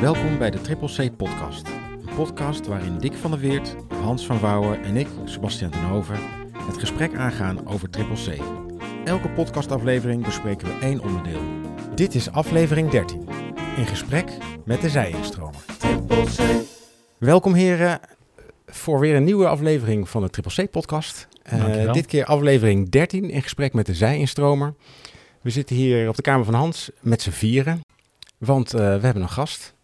Welkom bij de Triple C Podcast. Een podcast waarin Dick van der Weert, Hans van Wouwen en ik, Sebastian Den Hoven, het gesprek aangaan over Triple C. Elke podcastaflevering bespreken we één onderdeel. Dit is aflevering 13. In gesprek met de zijingstromer. Welkom heren voor weer een nieuwe aflevering van de Triple C Podcast. Eh, Dankjewel. dit keer aflevering 13 in gesprek met de zijinstromer. We zitten hier op de kamer van Hans met z'n vieren, want eh, we hebben een gast.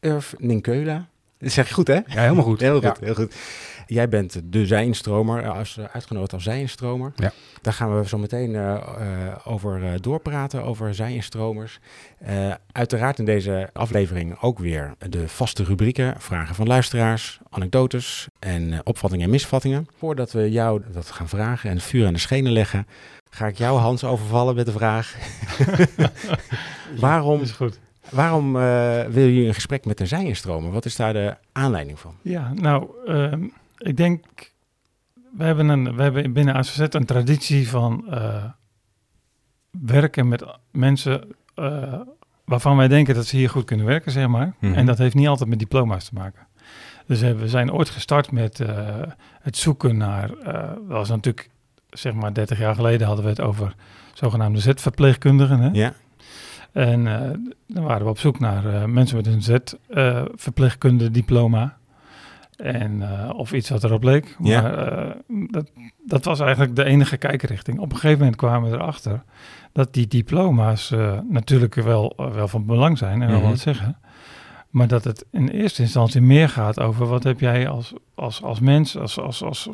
Urf Ninkeula. Dat zeg je goed hè? Ja, helemaal goed. Heel goed, Ja. heel goed. Jij bent de zijnstromer, als, eh, uitgenodigd als zijnstromer. Ja. Daar gaan we zo meteen eh, eh, over eh, doorpraten, over zijnstromers. Eh, uiteraard in deze aflevering ook weer de vaste rubrieken. Vragen van luisteraars, anekdotes en eh, opvattingen en misvattingen. Voordat we jou dat gaan vragen en vuur aan de schenen leggen, ga ik jou Hans overvallen met de vraag. waarom Is goed. waarom eh, wil je een gesprek met een zijnstromer? Wat is daar de aanleiding van? Ja, nou, ehm, ik denk, we hebben, een, we hebben binnen ACZ een traditie van eh, werken met mensen eh, waarvan wij denken dat ze hier goed kunnen werken, zeg maar. Mhm. En dat heeft niet altijd met diploma's te maken. Dus eh, we zijn ooit gestart met eh, het zoeken naar, eh, dat was natuurlijk, zeg maar 30 jaar geleden hadden we het over zogenaamde Z-verpleegkundigen. Hè? Ja, En eh, dan waren we op zoek naar eh, mensen met een Z-verpleegkunde-diploma. en eh, of iets wat erop leek. Ja. Maar eh, dat, dat was eigenlijk de enige kijkrichting. Op een gegeven moment kwamen we erachter dat die diploma's eh, natuurlijk wel, eh, wel van belang zijn en wel Mhm. wat zeggen. Maar dat het in eerste instantie meer gaat over wat heb jij als, als, als mens, als, als, als,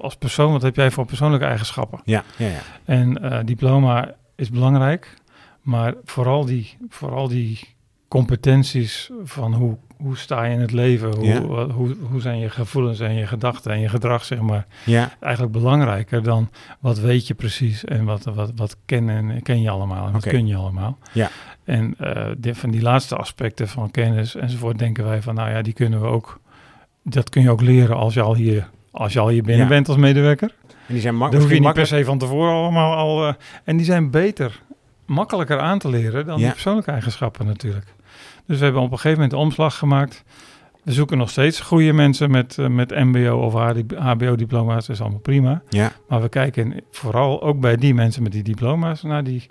als persoon, wat heb jij voor persoonlijke eigenschappen. ja, ja. ja. En eh, diploma is belangrijk, maar vooral die, vooral die competenties van hoe, hoe sta je in het leven, hoe, Ja. wat- hoe, hoe zijn je gevoelens en je gedachten en je gedrag, zeg maar, ja. eigenlijk belangrijker dan wat weet je precies en wat, wat, wat ken, en, ken je allemaal en wat Oké. kun je allemaal. Ja. En eh, die- van die laatste aspecten van kennis enzovoort denken wij van, nou ja, die kunnen we ook, dat kun je ook leren als je al hier, als je al hier binnen Ja. bent als medewerker. En die zijn mak- Daar hoef je misschien niet per makkelijk. se van tevoren allemaal al. eh, en die zijn beter, makkelijker aan te leren dan Ja. die persoonlijke eigenschappen natuurlijk. Dus we hebben op een gegeven moment de omslag gemaakt. We zoeken nog steeds goede mensen met, eh, met MBO of HD HBO-diploma's. Dat is allemaal prima. Ja, Maar we kijken vooral ook bij die mensen met die diploma's naar die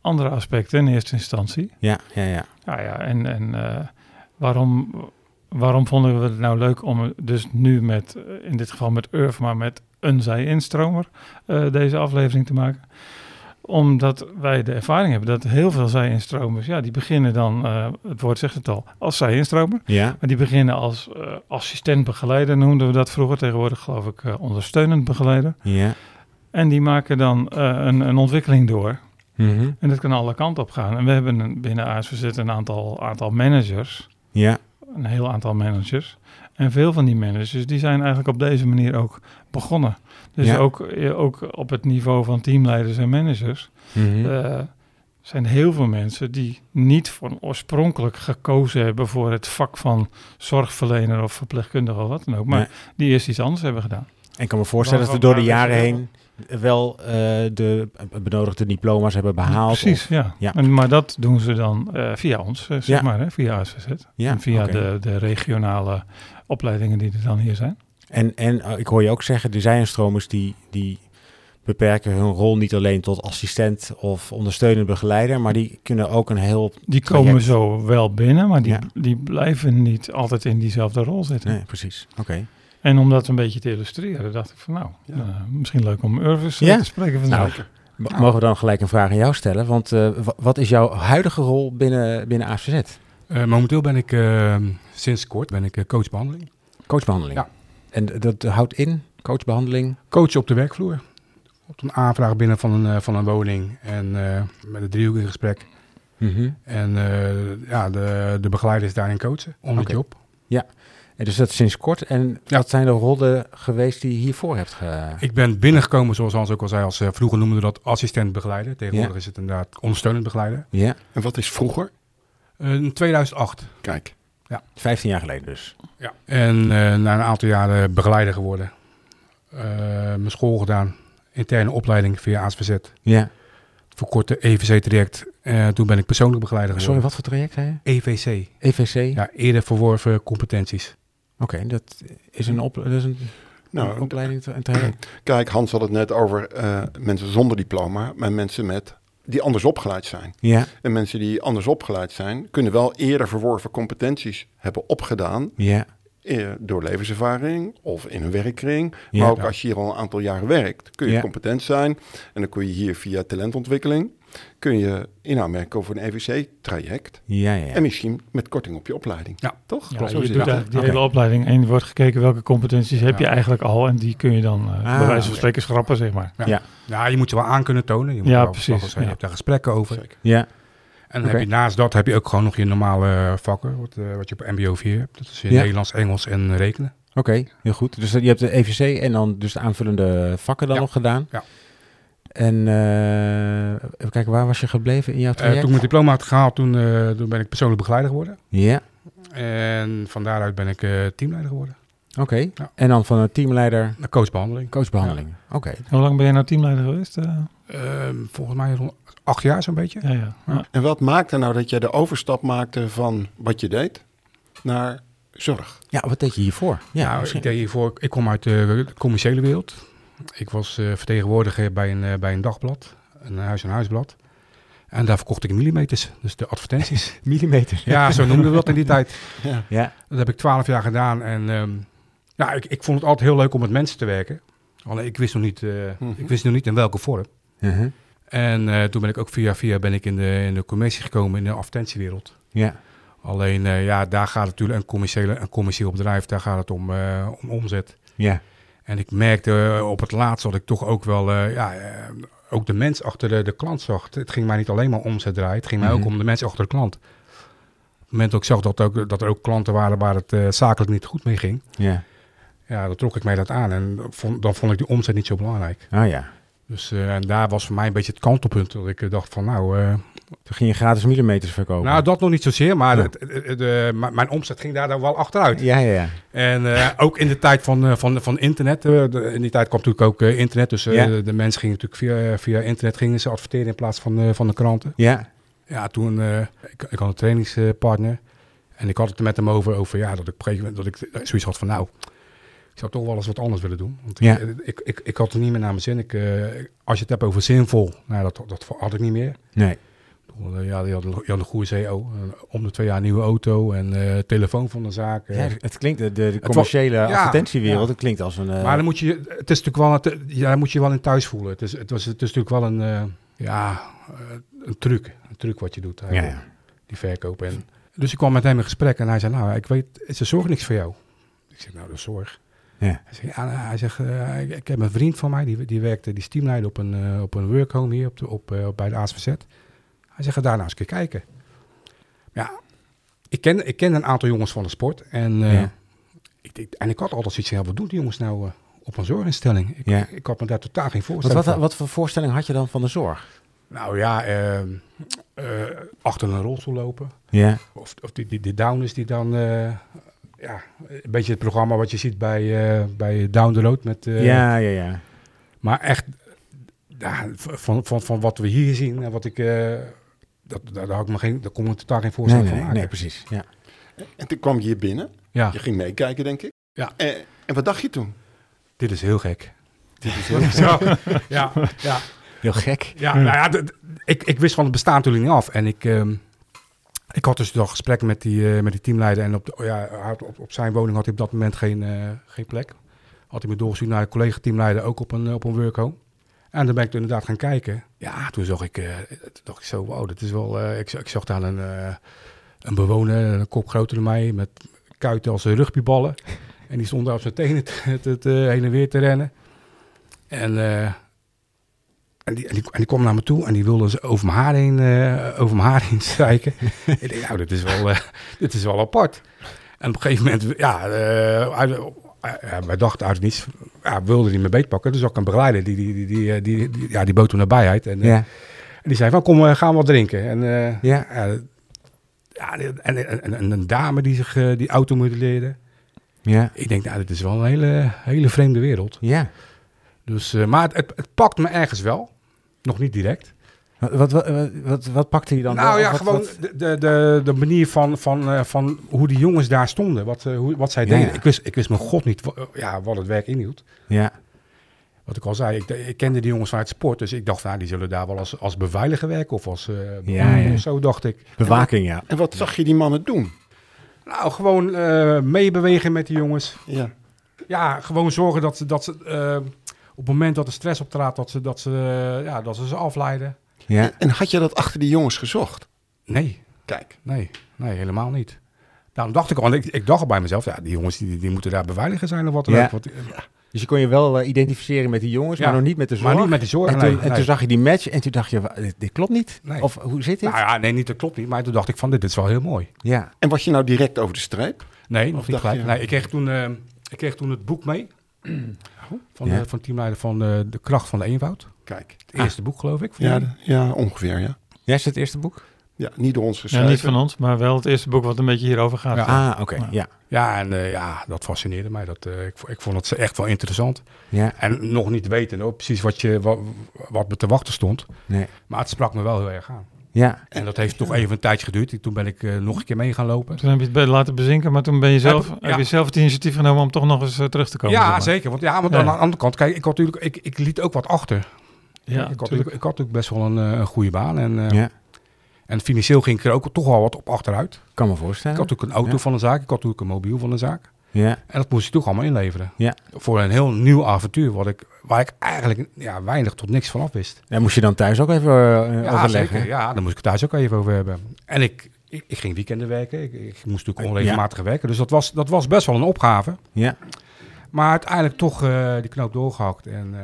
andere aspecten in eerste instantie. ja, ja, ja. Nou ja, en, en eh, waarom, waarom vonden we het nou leuk om dus nu met, eh, in dit geval met Urf, maar met een zij-instromer eh, deze aflevering te maken? Omdat wij de ervaring hebben dat heel veel zij-instromers, ja, die beginnen dan, eh, het woord zegt het al, als zij-instromer. Ja, Maar die beginnen als eh, assistent begeleider, noemden we dat vroeger tegenwoordig, geloof ik, eh, ondersteunend begeleider. ja. En die maken dan eh, een, een ontwikkeling door. Mhm. En dat kan alle kanten op gaan. En we hebben een- binnen ASVZ een aantal, aantal managers Ja, een heel aantal managers. En veel van die managers die zijn eigenlijk op deze manier ook begonnen. Dus Ja. ook, eh, ook op het niveau van teamleiders en managers Mhm. eh, zijn heel veel mensen die niet van oorspronkelijk gekozen hebben voor het vak van zorgverlener of verpleegkundige of wat dan ook, maar Nee. die eerst iets anders hebben gedaan. En ik kan me voorstellen dat we Waarom- door de waarom jaren is heen wel eh, de benodigde diploma's hebben behaald. Precies, Of- ja. ja. En, maar dat doen ze dan eh, via ons, eh, zeg Ja. maar, hè, via ASVZ. ja, en via oké. de, de regionale opleidingen die er dan hier zijn. En, en eh, ik hoor je ook zeggen, er zijn stromers die, die beperken hun rol niet alleen tot assistent of ondersteunend begeleider, maar die kunnen ook een heel... Die traject. komen zo wel binnen, maar die, Ja. die blijven niet altijd in diezelfde rol zitten. Nee, precies. Oké. En om dat een beetje te illustreren, dacht ik van nou, Ja. eh, misschien leuk om Urvis eh, Ja. te spreken vandaag. Nou, M- Mogen we dan gelijk een vraag aan jou stellen? Want eh, wa- wat is jouw huidige rol binnen, binnen AFZ? Eh, momenteel ben ik eh, sinds kort ben ik eh, coachbehandeling. Coachbehandeling. Ja. En d- dat houdt in coachbehandeling. Coach op de werkvloer. Op een aanvraag binnen van een, eh, van een woning en eh, met een driehoek in gesprek. En eh, ja, de, de begeleiders daarin coachen om Oké. de job. En dus dat is sinds kort. En Ja. wat zijn de rollen geweest die je hiervoor hebt ge... Ik ben binnengekomen, zoals Hans ook al zei, als eh, vroeger noemden we dat assistent begeleider. Tegenwoordig Ja. is het inderdaad ondersteunend begeleider. Ja, En wat is vroeger? Eh, in 2008. Kijk, 15 jaar geleden dus. Ja. En eh, na een aantal jaren begeleider geworden. Eh, mijn school gedaan. Interne opleiding via ASVZ. Ja, verkorte EVC-traject. Eh, toen ben ik persoonlijk begeleider Sorry, geworden. wat voor traject zei je? EVC. EVC? Ja, eerder verworven competenties. Oké, dat is een, op, dat is een Nou, een opleiding, te- een traject. Kijk, Hans had het net over eh, mensen zonder diploma, maar mensen met, die anders opgeleid zijn. Ja, En mensen die anders opgeleid zijn, kunnen wel eerder verworven competenties hebben opgedaan ja. eh, door levenservaring of in een werkkring. Ja. maar ook Ja. als je hier al een aantal jaren werkt, kun je Ja. competent zijn. En dan kun je hier via talentontwikkeling, kun je in aanmerking voor een EWC-traject. Ja, ja. En misschien met korting op je opleiding. Ja, toch? Ja, Klopt. je Zo doet is het. eigenlijk die Oké. hele opleiding en er wordt gekeken welke competenties heb je Ja. Ah, eigenlijk al en die kun je dan eh, bij wijze oké. van spreken schrappen, zeg maar. Ja, je moet ze wel aan kunnen tonen. Je moet Ja, wel- precies, wel zijn. ja. Je hebt daar gesprekken over. Zeker. ja. En Oké. dan heb je, naast dat heb je ook gewoon nog je normale vakken, wat, eh, wat je op MBO 4 hebt. Dat is in Ja. Nederlands, Engels en rekenen. Eh, Oké, heel goed. Dus dat- je hebt de EVC en dan dus de aanvullende vakken dan Ja. nog gedaan. Ja. En eh, even kijken, waar was je gebleven in jouw Eh, toen traject? ik mijn diploma had gehaald, toen, eh, toen ben ik persoonlijk begeleider geworden. Ja, En van daaruit ben ik eh, teamleider geworden. oké. Ja. En dan van een teamleider Een coachbehandeling. coachbehandeling. Oké. Hoe lang ben je nou teamleider geweest? eh? Ehm, volgens mij rond acht jaar zo'n beetje. ja, ja. Ja. En wat maakte nou dat jij de overstap maakte van wat je deed naar zorg? Ja, wat deed je hiervoor? Ja, nou, misschien. ik, deed hiervoor, ik kom uit eh, de commerciële wereld. Ik was eh, vertegenwoordiger bij een, eh, bij een dagblad, een huis- en huisblad. En daar verkocht ik millimeters, dus de advertenties. millimeter. ja, zo noemden we dat in die tijd. Ja. Ja, Dat heb ik twaalf jaar gedaan. En ehm, ja, ik, ik vond het altijd heel leuk om met mensen te werken. Alleen ik wist nog niet, eh, Mhm. ik wist nog niet in welke vorm. Mhm. En eh, toen ben ik ook via via ben ik in, de, in de commercie gekomen, in de advertentiewereld. ja. Alleen eh, ja, daar gaat het natuurlijk een, commerciële, een commercieel bedrijf, daar gaat het om, eh, om omzet. ja. En ik merkte eh, op het laatst dat ik toch ook wel eh, ja, eh, ook de mens achter de, de klant zag. Het- Het ging mij niet alleen maar om omzet draaien, het ging mij Mhm. ook om de mens achter de klant. Op het moment dat ik zag dat, ook, dat er ook klanten waren waar het eh, zakelijk niet goed mee ging, ja. ja, dan trok ik mij dat aan. En dan vond, dan vond ik die omzet niet zo belangrijk. Ah ja. Dus eh, en daar was voor mij een beetje het kantelpunt. Dat ik eh, dacht van nou, eh, Toen ging je gratis millimeters verkopen. nou dat nog niet zozeer. Maar Ja. het- het- het, eh, m- mijn omzet ging daar dan wel achteruit. ja, ja, ja. En eh, ook in de tijd van, eh, van, van internet. eh, de- in die tijd kwam natuurlijk ook eh, internet. Dus eh, Ja. de, de mensen gingen natuurlijk via, via internet gingen ze adverteren in plaats van, eh, van de kranten. Ja, Ja, toen eh, ik, ik had een trainingspartner. En ik had het er met hem over, over ja, dat ik op een gegeven moment dat ik eh, zoiets had van nou, ik zou toch wel eens wat anders willen doen. Want Ja. ik, ik, ik, ik had het niet meer naar mijn zin. Ik, eh, als je het hebt over zinvol, nou, dat, dat had ik niet meer. nee. Ik bedoel, eh, Ja, die had, een- die had een goede CEO. eh, Om de twee jaar een nieuwe auto en eh, telefoon van de zaak. eh, Ja, het klinkt, de, de was- commerciële ja, advertentiewereld, ja. het klinkt als een... eh, Maar dan moet je, het is natuurlijk wel, het, ja, daar moet je je wel in thuis voelen. Het is, het was, het is natuurlijk wel een, eh, ja, eh, een truc. Een truc wat je doet, ja, eigenlijk, ja. die verkoop. En, dus ik kwam met hem in gesprek en hij zei, nou, ik weet, ze zorg niks voor jou. Ik zeg, nou, dat is zorg. Ja. Hij zegt, ja, nou, hij zegt eh, ik, ik heb een vriend van mij, die, die werkte, die teamleider op een, eh, op een workhome hier op de, op, eh, bij de ASVZ. Hij zegt, ga daar nou eens een keer kijken. Ja, ik ken, ik ken een aantal jongens van de sport. En, eh, Ja. ik, ik- en ik had altijd zoiets van, ja, wat doen die jongens nou eh, op een zorginstelling? Ik, Ja. ik had me daar totaal geen Wat, voorstelling wat, van. wat voor voorstelling had je dan van de zorg? Nou ja, eh, eh, achter een rolstoel lopen. Ja, Of, of die, die, die downers die dan... eh, ja, een beetje het programma wat je ziet bij, eh, bij Down the Road. Met, eh, ja, ja, ja. Maar echt, ja, van, van, van wat we hier zien en wat ik... eh, dat, daar, daar, had ik me geen, daar kon ik me totaal geen Nee, voorstelling nee, nee, van maken. precies. Ja. En toen kwam je hier binnen. Ja, Je ging meekijken, denk ik. Ja. En, en wat dacht je toen? dit is heel gek. Dit is heel gek. ja, ja. Heel gek. Ja, nou ja, d- d- ik, ik wist van het bestaan natuurlijk niet af. En ik, ehm, ik had dus al gesprekken met die, eh, met die teamleider. En op, de, ja, hij had op, op zijn woning had hij op dat moment geen, eh, geen plek. Had hij me doorgestuurd naar een collega-teamleider, ook op een, eh, op een workhome. En dan ben ik toen inderdaad gaan kijken. Ja, toen zag ik, eh, toen dacht ik zo, wauw, dat is wel... eh, ik, zag- ik zag daar een, eh, een bewoner, een kop groter dan mij, met kuiten als rugbyballen. En die stond daar op zijn tenen te, te- te- heen en weer te rennen. En... eh, en die, en, die, en die kwam naar me toe en die wilde ze over mijn haar heen, eh, over mijn haar heen strijken. ik dacht, nou, dit is, wel, eh, dit is wel apart. En op een gegeven moment, ja, eh, hij- hij- hij- wij dachten uit het niets, ja, wilde hij me beetpakken. Dus ook een begeleider, die, die, die, die, eh, die, die- ja, die bood toen nabijheid. En, eh, Ja, en die zei van, kom, eh, gaan we wat drinken. En, eh, Ja. eh, ja, en, en, en- en een dame die zich eh, die auto mutileerde. ja, Ik denk, nou, dit is wel een hele, hele vreemde wereld. ja. Dus, eh, maar het, het, het pakt me ergens wel. Nog niet direct. Oké. Wat, wat, wat, wat, wat pakte hij dan? nou Of ja, wat- gewoon wat- De, de, de, de manier van, van, eh, van hoe die jongens daar stonden. Wat, eh, hoe, wat zij Ja, deden. ja. Ik, wist, ik wist mijn god niet wa- ja, wat het werk inhield. ja. Wat ik al zei, ik, ik kende die jongens vanuit sport. Dus ik dacht, nou, die zullen daar wel als, als beveiliger werken. Of als eh Ja, ja. of zo, dacht ik. Bewaking, ja. En wat zag je die mannen doen? Nou, gewoon eh, meebewegen met die jongens. Ja. Ja, gewoon zorgen dat ze, dat ze eh, op het moment dat er stress optraadt, dat ze, dat ze, eh, ja, dat ze ze afleiden. ja. En had je dat achter die jongens gezocht? Nee, Kijk. nee, nee, helemaal niet. Daarom dacht ik al, ik, ik dacht al bij mezelf, ja, die jongens die, die moeten daar beveiliger zijn of wat dan Ja. ook. Want, eh, Dus je kon je wel eh, identificeren met die jongens, Ja. maar nog niet met de zorg. maar niet met die zorgen. en, toen, nee, en nee. toen zag je die match en toen dacht je, wa- dit, dit klopt niet. Nee. Of hoe zit dit? nou ja, nee, niet, dat klopt niet. Maar toen dacht ik van, dit is wel heel mooi. ja. En was je nou direct over de streep? Nee, Of nog niet dacht gelijk. je- Nee, ik, kreeg toen, eh, ik kreeg toen het boek mee van, Oh. Ja. Ah. de, van de teamleider van eh, De Kracht van de Eenwoud. Kijk. Het eerste boek, geloof ik. van Ja, jullie. d- ja ongeveer, ja. Jij is het eerste boek? Ja, niet door ons Ja, geschreven. niet van ons, maar wel het eerste boek wat een beetje hierover gaat. Dus Ja. Ah, oké. Ja. Ja. ja en eh, ja, dat fascineerde mij. Dat, eh, ik, vo- ik vond het echt wel interessant. Ja. En nog niet weten hoor, precies wat, je, wat, wat me te wachten stond. Nee. Maar het sprak me wel heel erg aan. Ja. En dat heeft toch even een tijdje geduurd. Ik- Toen ben ik eh, nog een keer mee gaan lopen. Toen heb je het be- laten bezinken, maar toen ben je zelf, Ja. heb je zelf het initiatief genomen om toch nog eens eh, terug te komen. ja, zeg maar. zeker. Want, ja, want Ja. aan de andere kant, kijk, ik, had natuurlijk, ik, ik liet ook wat achter. Ja, ik, had, natuurlijk. natuurlijk- ik had natuurlijk best wel een, eh, een goede baan. En, eh, Ja. en financieel ging ik er ook toch wel wat op achteruit. Kan me voorstellen. Ik had natuurlijk een auto Ja. van de zaak, ik had natuurlijk een mobiel van de zaak. Ja. En dat moest ik toch allemaal inleveren. Ja. Voor een heel nieuw avontuur, wat ik, waar ik eigenlijk ja, weinig tot niks van af wist. Daar moest je dan thuis ook even eh, Ja, overleggen. zeker. Ja, daar moest ik het thuis ook even over hebben. En ik, ik, ik ging weekenden werken, ik, ik moest Eh, natuurlijk onregelmatig werken. Dus dat was, dat was best wel een opgave. Ja. Maar uiteindelijk toch eh, die knoop doorgehakt en, eh,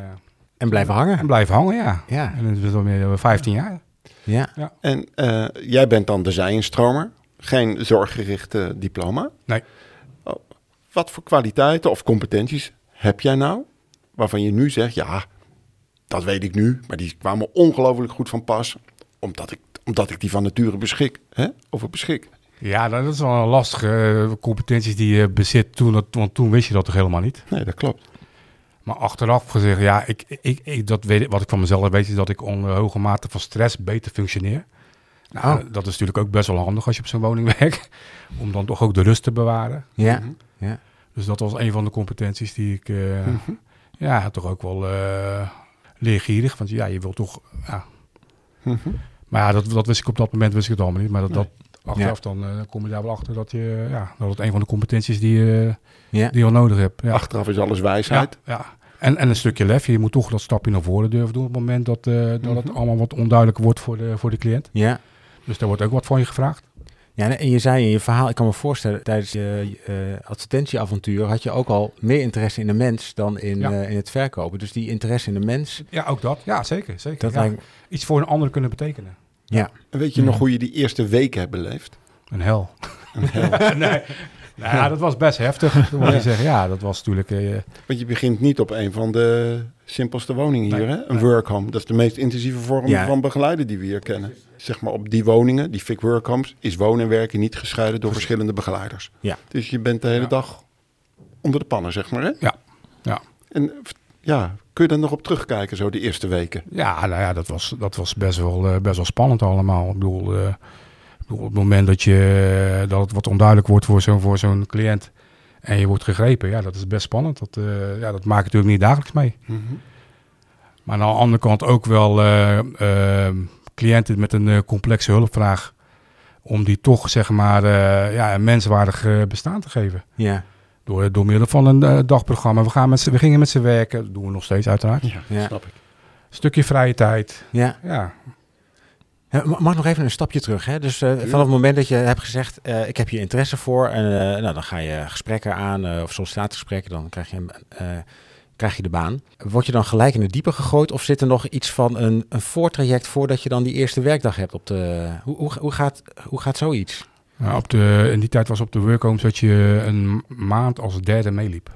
En blijven hangen. en blijven hangen, ja. Ja. En dat is alweer 15 jaar. Ja. En eh, jij bent dan de zijinstromer. Geen zorggerichte diploma. Nee. Oh, wat voor kwaliteiten of competenties heb jij nou? Waarvan je nu zegt, ja, dat weet ik nu. Maar die kwamen ongelooflijk goed van pas. Omdat ik, omdat ik die van nature beschik. Hè? Over beschik. Ja, nou, dat is wel een lastige eh, competenties die je bezit toen, dat, want toen wist je dat toch helemaal niet. Nee, dat klopt. Maar achteraf gezegd, ja, ik, ik, ik, dat weet, ik- wat ik van mezelf weet is dat ik onder hoge mate van stress beter functioneer. Nou, Dat is natuurlijk ook best wel handig als je op zo'n woning werkt, om dan toch ook de rust te bewaren. Ja. Mhm. Dus dat was een van de competenties die ik, eh, ja, toch ook wel eh, leergierig, want ja, je wilt toch, ja. Mhm. Maar ja, dat, dat wist ik op dat moment wist ik het allemaal niet, maar dat, Nee. dat achteraf dan eh, kom je daar wel achter dat je, eh, ja, dat het een van de competenties die, je Ja. die je al nodig hebt. Ja. Achteraf is alles wijsheid. Ja, ja. En, en een stukje lef. Je moet toch dat stapje naar voren durven doen op het moment dat, eh, dat het Mhm. allemaal wat onduidelijker wordt voor de, voor de cliënt. Ja. Dus daar wordt ook wat van je gevraagd. Ja, en je zei in je verhaal, ik kan me voorstellen, tijdens je eh, advertentieavontuur had je ook al meer interesse in de mens dan in, Ja. eh, in het verkopen. Dus die interesse in de mens, Ja, ook dat. Ja, zeker. zeker. dat Ja. lijkt... Iets voor een ander kunnen betekenen. Ja. En weet je nog hoe je die eerste weken hebt beleefd? Een hel. nee. Nou ja, dat was best heftig. Dan moet je zeggen, ja, dat was natuurlijk... eh, Want je begint niet op een van de simpelste woningen hier, Nee, hè? Een workhome. Dat is de meest intensieve vorm Ja. van begeleiden die we hier kennen. Zeg maar op die woningen, die fik workhomes, is wonen en werken niet gescheiden door verschillende begeleiders. Ja. Dus je bent de hele Ja. dag onder de pannen, zeg maar, hè? Ja, ja. En eh, ja, kun je daar nog op terugkijken, zo de eerste weken? ja, nou ja, dat was, dat was best, wel, eh, best wel spannend allemaal. Ik bedoel, eh, ik bedoel, op het moment dat, je, eh, dat het wat onduidelijk wordt voor zo'n voor zo'n cliënt... en je wordt gegrepen, ja, dat is best spannend. Dat, eh, ja, dat maak je natuurlijk niet dagelijks mee. Mhm. Maar aan de andere kant ook wel eh, eh, cliënten met een eh, complexe hulpvraag. Om die toch zeg maar eh, ja, een menswaardig eh, bestaan te geven. Ja. Door, door middel van een eh, dagprogramma. We, gaan met ze, we gingen met ze werken. Dat doen we nog steeds uiteraard. Ja, Ja. snap ik. Stukje vrije tijd. Ja. Ja, Eh, ma- Mag nog even een stapje terug. Hè? Dus eh, vanaf het moment dat je hebt gezegd, eh, ik heb hier interesse voor. En eh, nou, dan ga je gesprekken aan eh, of sollicitatiegesprekken. Dan krijg je, een, eh, krijg je de baan. Word je dan gelijk in het diepe gegooid? Of zit er nog iets van een, een voortraject voordat je dan die eerste werkdag hebt? Op de, hoe, hoe, hoe, gaat, hoe gaat zoiets? Nou, op de, in die tijd was op de workhomes dat je een maand als derde meeliep.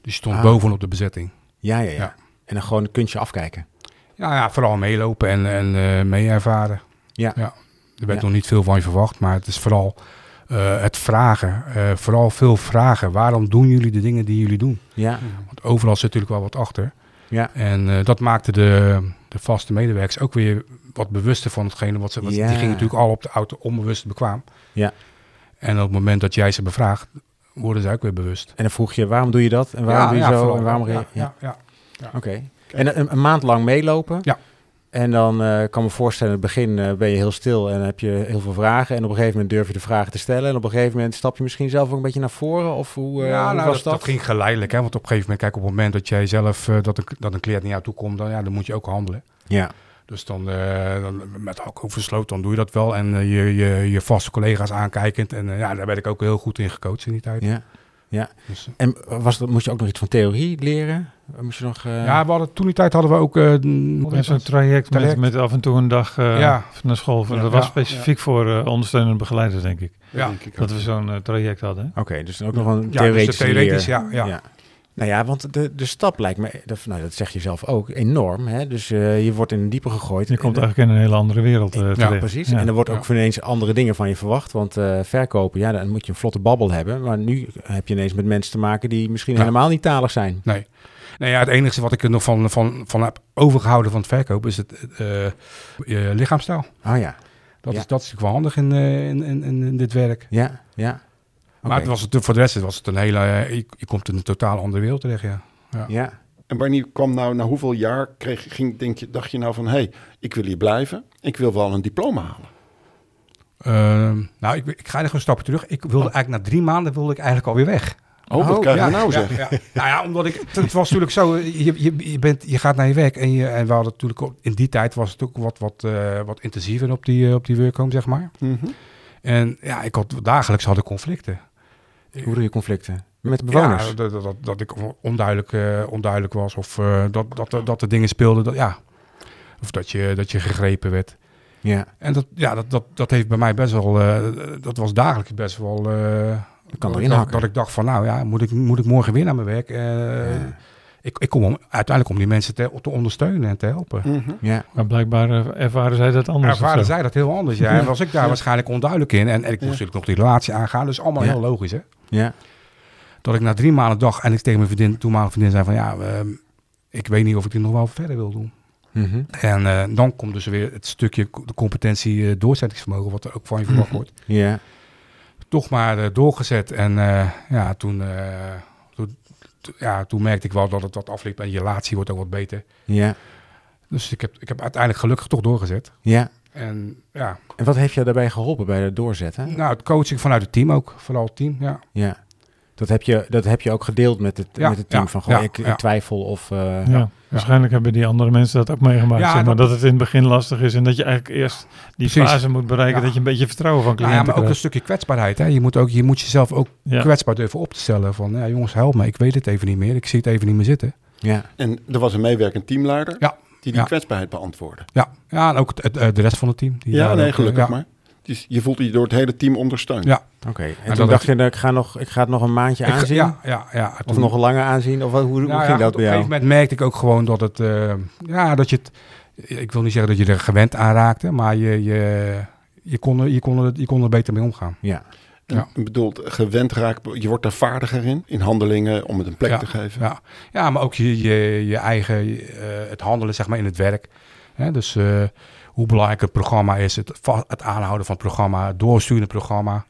Dus je stond Ah. bovenop de bezetting. Ja, ja, ja, Ja. En dan gewoon een kuntje afkijken. Ja, ja vooral meelopen en, en eh, mee ervaren. Ja. Er werd Ja. nog niet veel van je verwacht, maar het is vooral eh, het vragen. Eh, vooral veel vragen. Waarom doen jullie de dingen die jullie doen? Ja, Want overal zit natuurlijk wel wat achter. ja, En eh, dat maakte de, de vaste medewerkers ook weer wat bewuster van hetgene wat ze... Wat, Ja. Die gingen natuurlijk al op de auto onbewust bekwaam. Ja. En op het moment dat jij ze bevraagt, worden ze ook weer bewust. En dan vroeg je, waarom doe je dat? En waarom doe je zo? vooral. En waarom... ja, re- ja, ja. Oké. En eh, een, een maand lang meelopen. Ja. En dan eh, ik kan me voorstellen, in het begin eh, ben je heel stil en heb je heel veel vragen. En op een gegeven moment durf je de vragen te stellen. En op een gegeven moment stap je misschien zelf ook een beetje naar voren. Of hoe, eh, ja, hoe nou, was dat, dat? dat ging geleidelijk. Hè? Want op een gegeven moment, kijk, op het moment dat jij zelf eh, dat, een, dat een cliënt naar jou toe komt, dan, ja, dan moet je ook handelen. Ja, Dus dan, eh, dan met ook oversloot, dan doe je dat wel. En eh, je, je, je vaste collega's aankijkend. En eh, ja, daar ben ik ook heel goed in gecoacht in die tijd. ja. Dus, eh, En was dat, moest je ook nog iets van theorie leren? Moest je nog... eh, ja, we hadden, toen die tijd hadden we ook... eh, hoe En heet zo'n dat? traject, met, Traject. met af en toe een dag eh, Ja. naar school. Dat Ja, was ja, specifiek voor eh, ondersteunende begeleiders, denk ik. Dat Ja. denk ik ook. Dat we zo'n eh, traject hadden. hè. Oké, dus ook nog een Ja, dus de theoretisch theoretisch, ja, ja. Nou ja, want de, de stap lijkt me, dat, nou, dat zeg je zelf ook, enorm. Hè? Dus eh, je wordt in een diepe gegooid. Je komt En- eigenlijk in een hele andere wereld eh, terecht. ja, precies. Ja. En er wordt Ja. ook ineens andere dingen van je verwacht. Want eh, verkopen, ja, dan moet je een vlotte babbel hebben. Maar nu heb je ineens met mensen te maken die misschien Ja. helemaal niet talig zijn. Nee, Nou ja, het enige wat ik er nog van, van, van heb overgehouden van het verkopen is het eh, eh, je lichaamstaal. Oh ja, Dat, Ja. is, dat is natuurlijk wel handig in, eh, in, in, in- in dit werk. ja, ja. Oké. Maar het was het, voor de rest was het een hele... eh, je, je komt in een totaal andere wereld terecht, ja. Ja, En wanneer kwam nou, na hoeveel jaar kreeg, ging, denk je, dacht je nou van... hé, hey, ik wil hier blijven, ik wil wel een diploma halen. Ehm, nou, ik, ik ga nog een stapje terug. Ik Oh. wilde eigenlijk na drie maanden wilde ik eigenlijk alweer weg. Oh, wat krijg je nou ja, zeg. ja. Nou ja, omdat ik... Het, het was natuurlijk zo, eh, je, je, je, bent, je gaat naar je werk en, je, en we hadden natuurlijk... ook- In die tijd was het ook wat, wat, eh, wat intensiever op die, eh, op die workhome, zeg maar. Mhm. En ja, ik had, dagelijks had ik conflicten. hoe bedoel je conflicten? Met de bewoners? Ja, dat, dat, dat, dat ik onduidelijk, eh, onduidelijk was of eh, dat, dat, er- dat er dingen speelden. Dat, ja. Of dat je, dat je gegrepen werd. ja, En dat, ja, dat, dat, dat heeft bij mij best wel... eh, dat was dagelijks best wel... eh, dat kan dat, erin ik dacht, hakken. dat ik dacht van, nou ja, moet ik, moet ik morgen weer naar mijn werk? Eh, Ja. ik, ik kom om, uiteindelijk om die mensen te, te ondersteunen en te helpen. Mhm. Ja, Maar blijkbaar eh, ervaren zij dat anders. of Ervaren zo. zij dat heel anders, ja. En was ik daar waarschijnlijk onduidelijk in. En, en ik moest natuurlijk nog die relatie aangaan. Dus allemaal Ja. heel logisch, hè. ja, Dat ik na drie maanden dag en ik tegen mijn vriendin, toenmalige vriendin zei van... Ja, ehm, ik weet niet of ik dit nog wel verder wil doen. mhm, En eh, dan komt dus weer het stukje co- de competentie eh, doorzettingsvermogen... wat er ook van je verwacht wordt. ja. toch maar eh, doorgezet. En eh, ja, toen, eh, toen, t- ja, toen merkte ik wel dat het wat afliep en je relatie wordt ook wat beter. ja, Dus ik heb, ik heb uiteindelijk gelukkig toch doorgezet. ja. En ja, En wat heeft jou daarbij geholpen bij het doorzetten? nou, het coaching vanuit het team ook, vooral het team. Ja, Ja. Dat heb, je, dat heb je ook gedeeld met het, Ja, met het team. ja, van gewoon, ja, ik, ik ja. twijfel of... eh, Ja, waarschijnlijk hebben die andere mensen dat ook meegemaakt. Ja, zeg maar, dat- dat, het in het begin lastig is en dat je eigenlijk eerst die Precies. fase moet bereiken Ja. dat je een beetje vertrouwen van nou cliënten ja maar ook een krijgt. stukje kwetsbaarheid. Hè. Je, moet ook, je moet jezelf ook Ja. kwetsbaar durven op te stellen. Van ja, jongens, help me, ik weet het even niet meer. Ik zie het even niet meer zitten. ja. En er was een meewerkend teamleider Ja. die die Ja. kwetsbaarheid beantwoordde. Ja, ja en ook het, het, eh, de rest van het team. Die Ja, daar ook, nee, eh, gelukkig ja. maar. Dus je voelt je door het hele team ondersteund. Ja. Oké. En toen dat dacht heeft- je, nou, ik ga, nog, ik ga het nog een maandje Ik- aanzien? Ja, ja, ja. Of Toen- nog langer aanzien? Of wat, hoe, hoe Nou ging ja, dat op een bij jou? gegeven moment merkte ik ook gewoon dat het, eh, ja, dat je het, ik wil niet zeggen dat je er gewend aan raakte, maar je, je, je, kon, er, je, kon, er, je kon er beter mee omgaan. Ja, En Ja. Ik bedoel, gewend raakt, je wordt daar vaardiger in, in handelingen om het een plek te geven. Ja, ja maar ook je, je, je eigen, eh, het handelen zeg maar in het werk. Hè, dus eh, hoe belangrijk het programma is, het, va- het aanhouden van het programma, het doorsturen van het programma,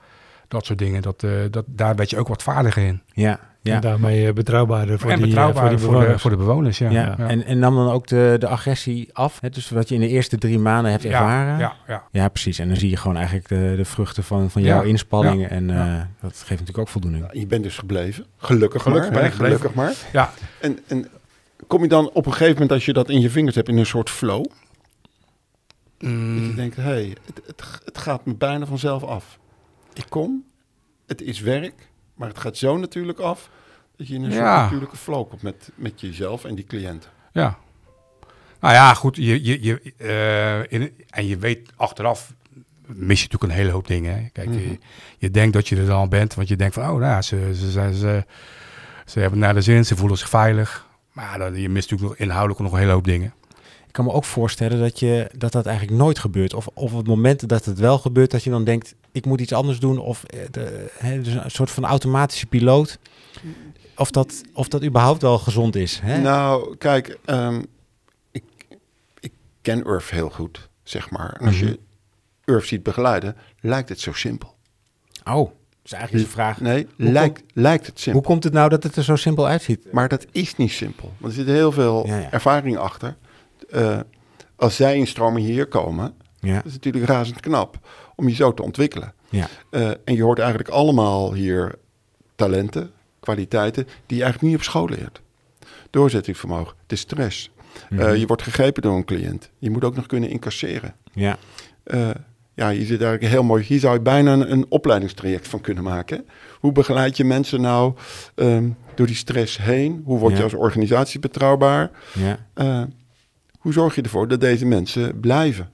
dat soort dingen, dat, eh, dat, daar werd je ook wat vaardiger in. ja, ja. En daarmee eh, betrouwbaarder voor en die, eh, betrouwbaar voor, voor die de, voor de bewoners, ja. ja. En, en nam dan ook de, de agressie af? Hè? Dus wat je in de eerste drie maanden hebt ervaren? Ja, ja, ja. Ja, precies. En dan zie je gewoon eigenlijk de, de vruchten van, van Ja, jouw inspanning. En eh, ja. dat geeft natuurlijk ook voldoening. Je bent dus gebleven. Gelukkig, Gelukkig maar. ben ik hè, gebleven. Gelukkig maar. ja. En, en kom je dan op een gegeven moment, als je dat in je vingers hebt, in een soort flow? Dat je Mm. denkt, hé, hey, het, het, het gaat me bijna vanzelf af. Ik kom, het is werk, maar het gaat zo natuurlijk af... dat je in een Ja. soort natuurlijke flow komt met, met jezelf en die cliënten. Ja. Nou ja, goed. Je, je, je, eh, in, en je weet achteraf mis je natuurlijk een hele hoop dingen. Hè? Kijk, Mhm. je, je denkt dat je er dan bent, want je denkt van, oh, nou, ja, ze, ze, zijn, ze, ze hebben het naar de zin, ze voelen zich veilig. Maar dan, je mist natuurlijk nog inhoudelijk nog een hele hoop dingen. Ik kan me ook voorstellen dat je, dat, dat eigenlijk nooit gebeurt. Of, of op het moment dat het wel gebeurt, dat je dan denkt... ik moet iets anders doen. Of eh, de, hè, dus een soort van automatische piloot. Of dat, of dat überhaupt wel gezond is. Hè? Nou, kijk, ehm, ik, ik ken Urf heel goed, zeg maar. En Mhm. als je Urf ziet begeleiden, lijkt het zo simpel. Oh, dus eigenlijk is de vraag, Nee, komt- lijkt, lijkt het simpel. hoe komt het nou dat het er zo simpel uitziet? Maar dat is niet simpel. Want er zit heel veel Ja, ja. ervaring achter. Eh, als zij in stromen hier komen, Ja, dat is natuurlijk razend knap om je zo te ontwikkelen. ja. Eh, en je hoort eigenlijk allemaal hier talenten, kwaliteiten, die je eigenlijk niet op school leert. Doorzettingsvermogen, het is stress. Eh, Mhm. je wordt gegrepen door een cliënt. Je moet ook nog kunnen incasseren. ja. Eh, ja, je zit eigenlijk heel mooi. Hier zou je bijna een, een opleidingstraject van kunnen maken. hè? Hoe begeleid je mensen nou ehm, door die stress heen? Hoe word Ja. je als organisatie betrouwbaar? ja. Eh, hoe zorg je ervoor dat deze mensen blijven?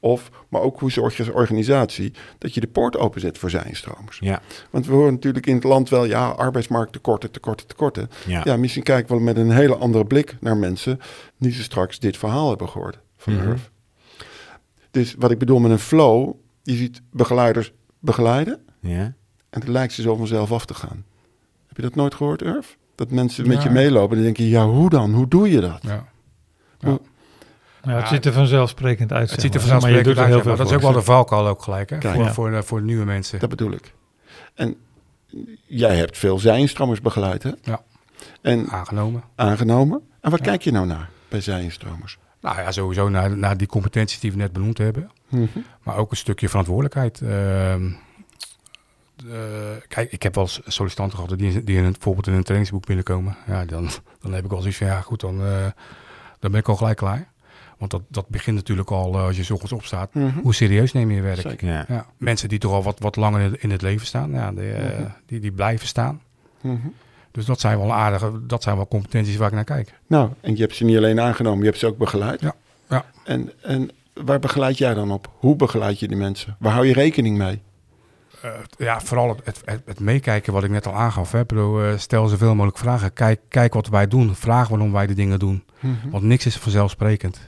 Of, maar ook hoe zorg je als organisatie dat je de poort openzet voor zijn stromers? Ja, Want we horen natuurlijk in het land wel, ja, arbeidsmarkt tekorten, tekorten, tekorten. ja. Ja, misschien kijken we met een hele andere blik naar mensen die ze straks dit verhaal hebben gehoord van Mhm. Urf. Dus wat ik bedoel met een flow, je ziet begeleiders begeleiden ja. en het lijkt ze zo vanzelf af te gaan. Heb je dat nooit gehoord, Urf? Dat mensen met Ja. je meelopen en dan denk je, ja, hoe dan? Hoe doe je dat? Ja. Ja, het Ja, ziet er vanzelfsprekend uit. Het zeg ziet er maar. Maar je vanzelfsprekend doet uit, er heel ja, maar veel dat is ook wel de valkuil ook gelijk, hè? Kijk, voor, ja. voor, eh, voor nieuwe mensen. Dat bedoel ik. En jij hebt veel zijinstromers begeleid, hè? Ja. En Aangenomen. aangenomen. En waar kijk je nou naar bij zijinstromers? Nou ja, sowieso naar, naar die competenties die we net benoemd hebben. Maar ook een stukje verantwoordelijkheid. Ehm, eh, kijk, ik heb wel eens sollicitanten gehad die, die in een, bijvoorbeeld in een trainingsboek binnenkomen. Ja, dan, dan heb ik al zoiets van, ja goed, dan, eh, dan ben ik al gelijk klaar. Want dat, dat begint natuurlijk al eh, als je 's ochtends opstaat. Mhm. Hoe serieus neem je je werk? Zeker. Ja. Ja, mensen die toch al wat, wat langer in het, in het leven staan, ja, die, eh, Mhm. die, die blijven staan. Mhm. Dus dat zijn wel aardige, dat zijn wel competenties waar ik naar kijk. Nou, en je hebt ze niet alleen aangenomen, je hebt ze ook begeleid. Ja, ja. En, en waar begeleid jij dan op? Hoe begeleid je die mensen? Waar hou je rekening mee? Eh, ja, vooral het, het, het, het meekijken wat ik net al aangaf. Hè. Ik bedoel, eh, stel zoveel mogelijk vragen. Kijk, kijk wat wij doen. Vraag waarom wij de dingen doen. Hm. Want niks is vanzelfsprekend.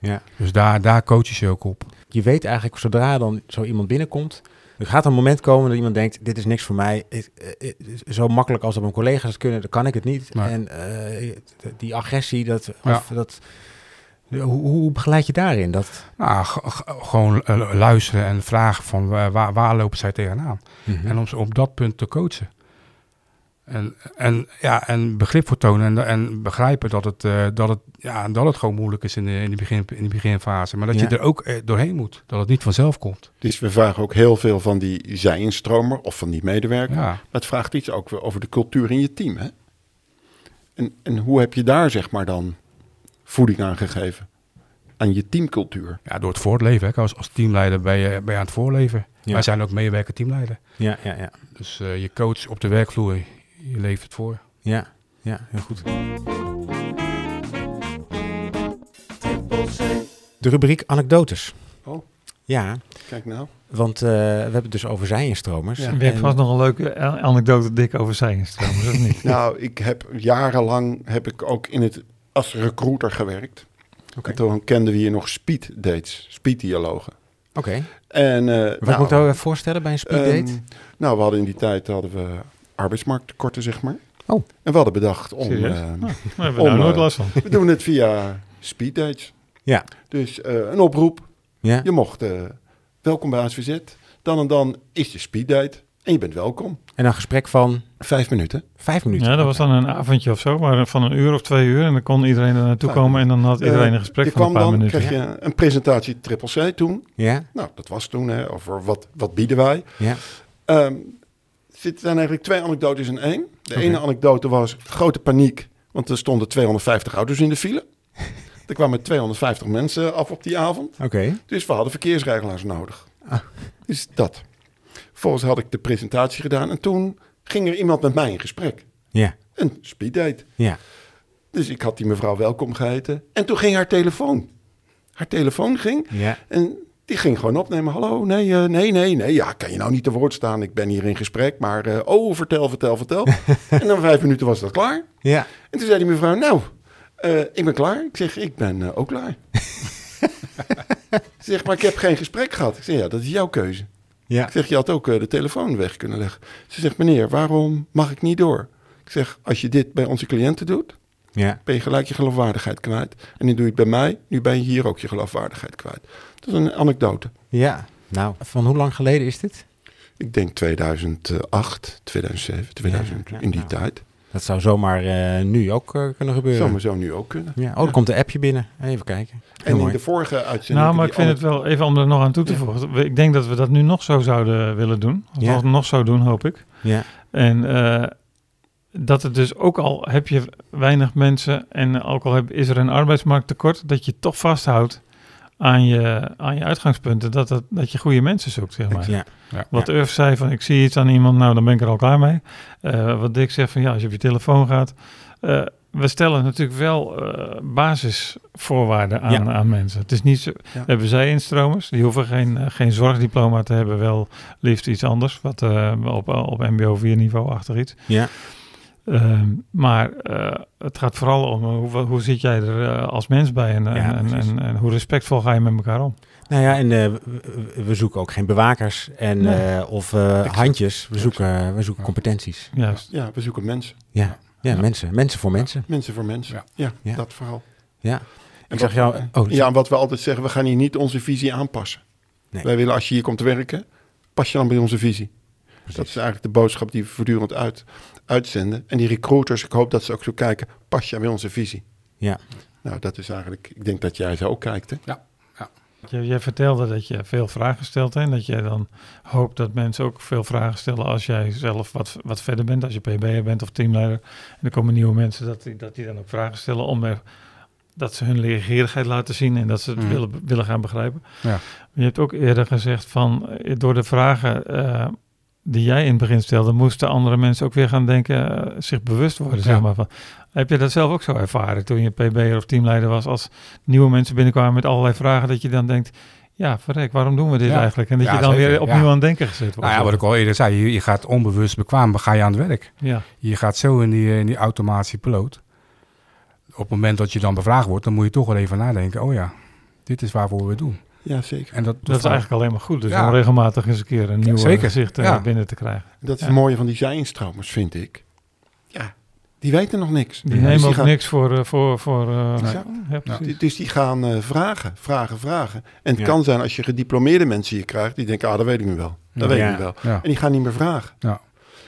Ja. Dus daar, daar coach je ze ook op. Je weet eigenlijk, zodra dan zo iemand binnenkomt, er gaat een moment komen dat iemand denkt, dit is niks voor mij. Ik- eh, eh, Zo makkelijk als dat mijn collega's het kunnen, dan kan ik het niet. Nee. En eh, die agressie, dat, Ja. of dat, hoe, hoe begeleid je daarin? Dat, Nou, g- g- gewoon eh, luisteren en vragen van eh, waar, waar lopen zij tegenaan. Hm. Mhm. En om ze op dat punt te coachen. En, en, ja, en begrip voor tonen en, en begrijpen dat het, eh, dat, het, ja, dat het gewoon moeilijk is in de, in de, begin, in de beginfase. Maar dat Ja. je er ook eh, doorheen moet. Dat het niet vanzelf komt. Dus we vragen ook heel veel van die zijinstromer of van die medewerker. Ja. Maar het vraagt iets ook weer over de cultuur in je team. Hè? En, en hoe heb je daar zeg maar dan voeding aan gegeven? Aan je teamcultuur. Ja, door het voortleven. Hè. Als, als teamleider ben je, ben je aan het voorleven. Ja. Wij zijn ook meewerker teamleider. ja, ja, ja. Dus eh, je coach op de werkvloer, je leeft het voor. Ja, ja, heel goed. De rubriek anekdotes. Oh. Ja, Kijk nou. want eh, we hebben het dus over zijinstromers. Ja. We hebben vast nog een leuke a- anekdote dik over zijinstromers, of niet? Nou, ik heb jarenlang heb ik ook in het als recruiter gewerkt. Oké. En toen kenden we hier nog speed dates, speed dialogen. Oké, En eh, wat moet ik nou even voorstellen bij een speeddate? ehm, nou, we hadden in die tijd hadden we arbeidsmarkttekorten, zeg maar. Oh. Ah. En we hadden bedacht om Serieus? eh, Nou, we hebben daar Om, nooit eh, last van. we doen het via speed dates. Ja. Dus eh, een oproep. ja? Je mocht eh, welkom bij ASVZ. Dan en dan is de speed date en je bent welkom. En een gesprek van Vijf minuten. vijf minuten. Ja, dat was dan een avondje of zo, maar van een uur of twee uur. En dan kon iedereen er naartoe Ja. komen en dan had iedereen een gesprek je van een kwam paar dan, minuten. kreeg je een presentatie triple C toen. Ja, Nou, dat was toen, hè, over wat, wat bieden wij. ja, Ehm er zijn eigenlijk twee anekdotes in één. De Oké. ene anekdote was grote paniek, want er stonden 250 auto's in de file. er kwamen 250 mensen af op die avond. oké. Dus we hadden verkeersregelaars nodig. Ah. Dus dat. Vervolgens had ik de presentatie gedaan en toen ging er iemand met mij in gesprek. Ja, Een speeddate. ja. Dus ik had die mevrouw welkom geheten. En toen ging haar telefoon. Haar telefoon ging Ja, en die ging gewoon opnemen. Hallo, nee, eh, nee, nee, nee. Ja, kan je nou niet te woord staan? Ik ben hier in gesprek. Maar eh, oh, vertel, vertel, vertel. en dan vijf minuten was dat klaar. ja. En toen zei die mevrouw, nou, eh, ik ben klaar. Ik zeg, ik ben eh, ook klaar. Ze zegt, maar ik heb geen gesprek gehad. Ik zeg, ja, dat is jouw keuze. ja. Ik zeg, je had ook eh, de telefoon weg kunnen leggen. Ze zegt, meneer, waarom mag ik niet door? Ik zeg, als je dit bij onze cliënten doet, Ja. ben je gelijk je geloofwaardigheid kwijt. En nu doe je het bij mij, nu ben je hier ook je geloofwaardigheid kwijt. Dat is een anekdote. Ja, nou, van hoe lang geleden is dit? Ik denk 2008, 2007, 2000, Ja, ja, in die nou. tijd. Dat zou zomaar eh, nu ook eh, kunnen gebeuren. Zou maar zo nu ook kunnen. Ja, oh, er komt een appje binnen. Even kijken. En in mooi. de vorige uitzending... Nou, maar ik die vind alle- het wel, even om er nog aan toe te voegen. We- Ik denk dat we dat nu nog zo zouden willen doen. Of Ja. we het nog zo doen, hoop ik. Ja, En eh, dat het dus ook al heb je weinig mensen en ook al heb, is er een arbeidsmarkttekort, dat je toch vasthoudt aan je, aan je uitgangspunten. Dat, dat, dat je goede mensen zoekt, zeg maar. ja. Wat Urf zei van ik zie iets aan iemand, nou dan ben ik er al klaar mee. Eh, wat Dick zegt van ja, als je op je telefoon gaat. Eh, we stellen natuurlijk wel eh, basisvoorwaarden aan, aan mensen. Het is niet zo, Ja. hebben zij instromers, die hoeven geen, eh, geen zorgdiploma te hebben, wel liefst iets anders, wat eh, op, op mbo 4 niveau achter iets. ja. Ehm, maar eh, het gaat vooral om eh, hoe, hoe zit jij er eh, als mens bij en, Ja, en, precies. en, en hoe respectvol ga je met elkaar om. Nou ja, en eh, we, we zoeken ook geen bewakers en, Nee. eh, of eh, handjes. We zoeken, eh, we zoeken Ja. competenties. Juist. Ja, we zoeken mensen. Ja. Ja, mensen. Mensen voor mensen. Mensen voor mensen. Ja, Ja. Ja. dat vooral. Ja. Ik En zag wat- jou... Oh, ja, en wat we altijd zeggen, we gaan hier niet onze visie aanpassen. Nee. Wij willen als je hier komt werken, pas je dan bij onze visie. precies. Dat is eigenlijk de boodschap die we voortdurend uit, uitzenden. En die recruiters, ik hoop dat ze ook zo kijken, pas je bij onze visie. Ja. Nou, dat is eigenlijk, ik denk dat jij zo ook kijkt. Hè? Jij, jij vertelde dat je veel vragen stelt hè, en dat jij dan hoopt dat mensen ook veel vragen stellen als jij zelf wat, wat verder bent, als je PB'er bent of teamleider. En er komen nieuwe mensen dat die, dat die dan ook vragen stellen om er, dat ze hun leergierigheid laten zien en dat ze het Mhm. willen, willen gaan begrijpen. Ja. Maar Je hebt ook eerder gezegd van eh, door de vragen eh, die jij in het begin stelde, moesten andere mensen ook weer gaan denken, eh, zich bewust worden. Zeg Ja. maar, van, heb je dat zelf ook zo ervaren toen je PB'er of teamleider was als nieuwe mensen binnenkwamen met allerlei vragen, dat je dan denkt, ja, verrek, waarom doen we dit Ja. eigenlijk? En dat Ja, je dan zeker, weer opnieuw ja. aan het denken gezet wordt. Nou ja, wat ik al eerder zei, je, je gaat onbewust bekwaam, ga je aan het werk. ja. Je gaat zo in die, in die automatische piloot. Op het moment dat je dan bevraagd wordt, dan moet je toch wel even nadenken. Oh ja, dit is waarvoor we het doen. Ja, zeker. En dat, Dat is eigenlijk alleen maar goed. Dus Ja. om regelmatig eens een keer een nieuw zeker, gezicht eh, ja. binnen te krijgen. Dat is Ja. het mooie van die zijinstromers, vind ik. Ja, die weten nog niks. Die Dus nemen ook gaan- niks voor... eh, voor, voor eh, Exact. ja, precies. Die- Dus die gaan eh, vragen, vragen, vragen. En het Ja. kan zijn als je gediplomeerde mensen hier krijgt, die denken, ah, dat weet ik nu wel. Dat weet Ja. ik nu wel. Ja. En die gaan niet meer vragen. Ja.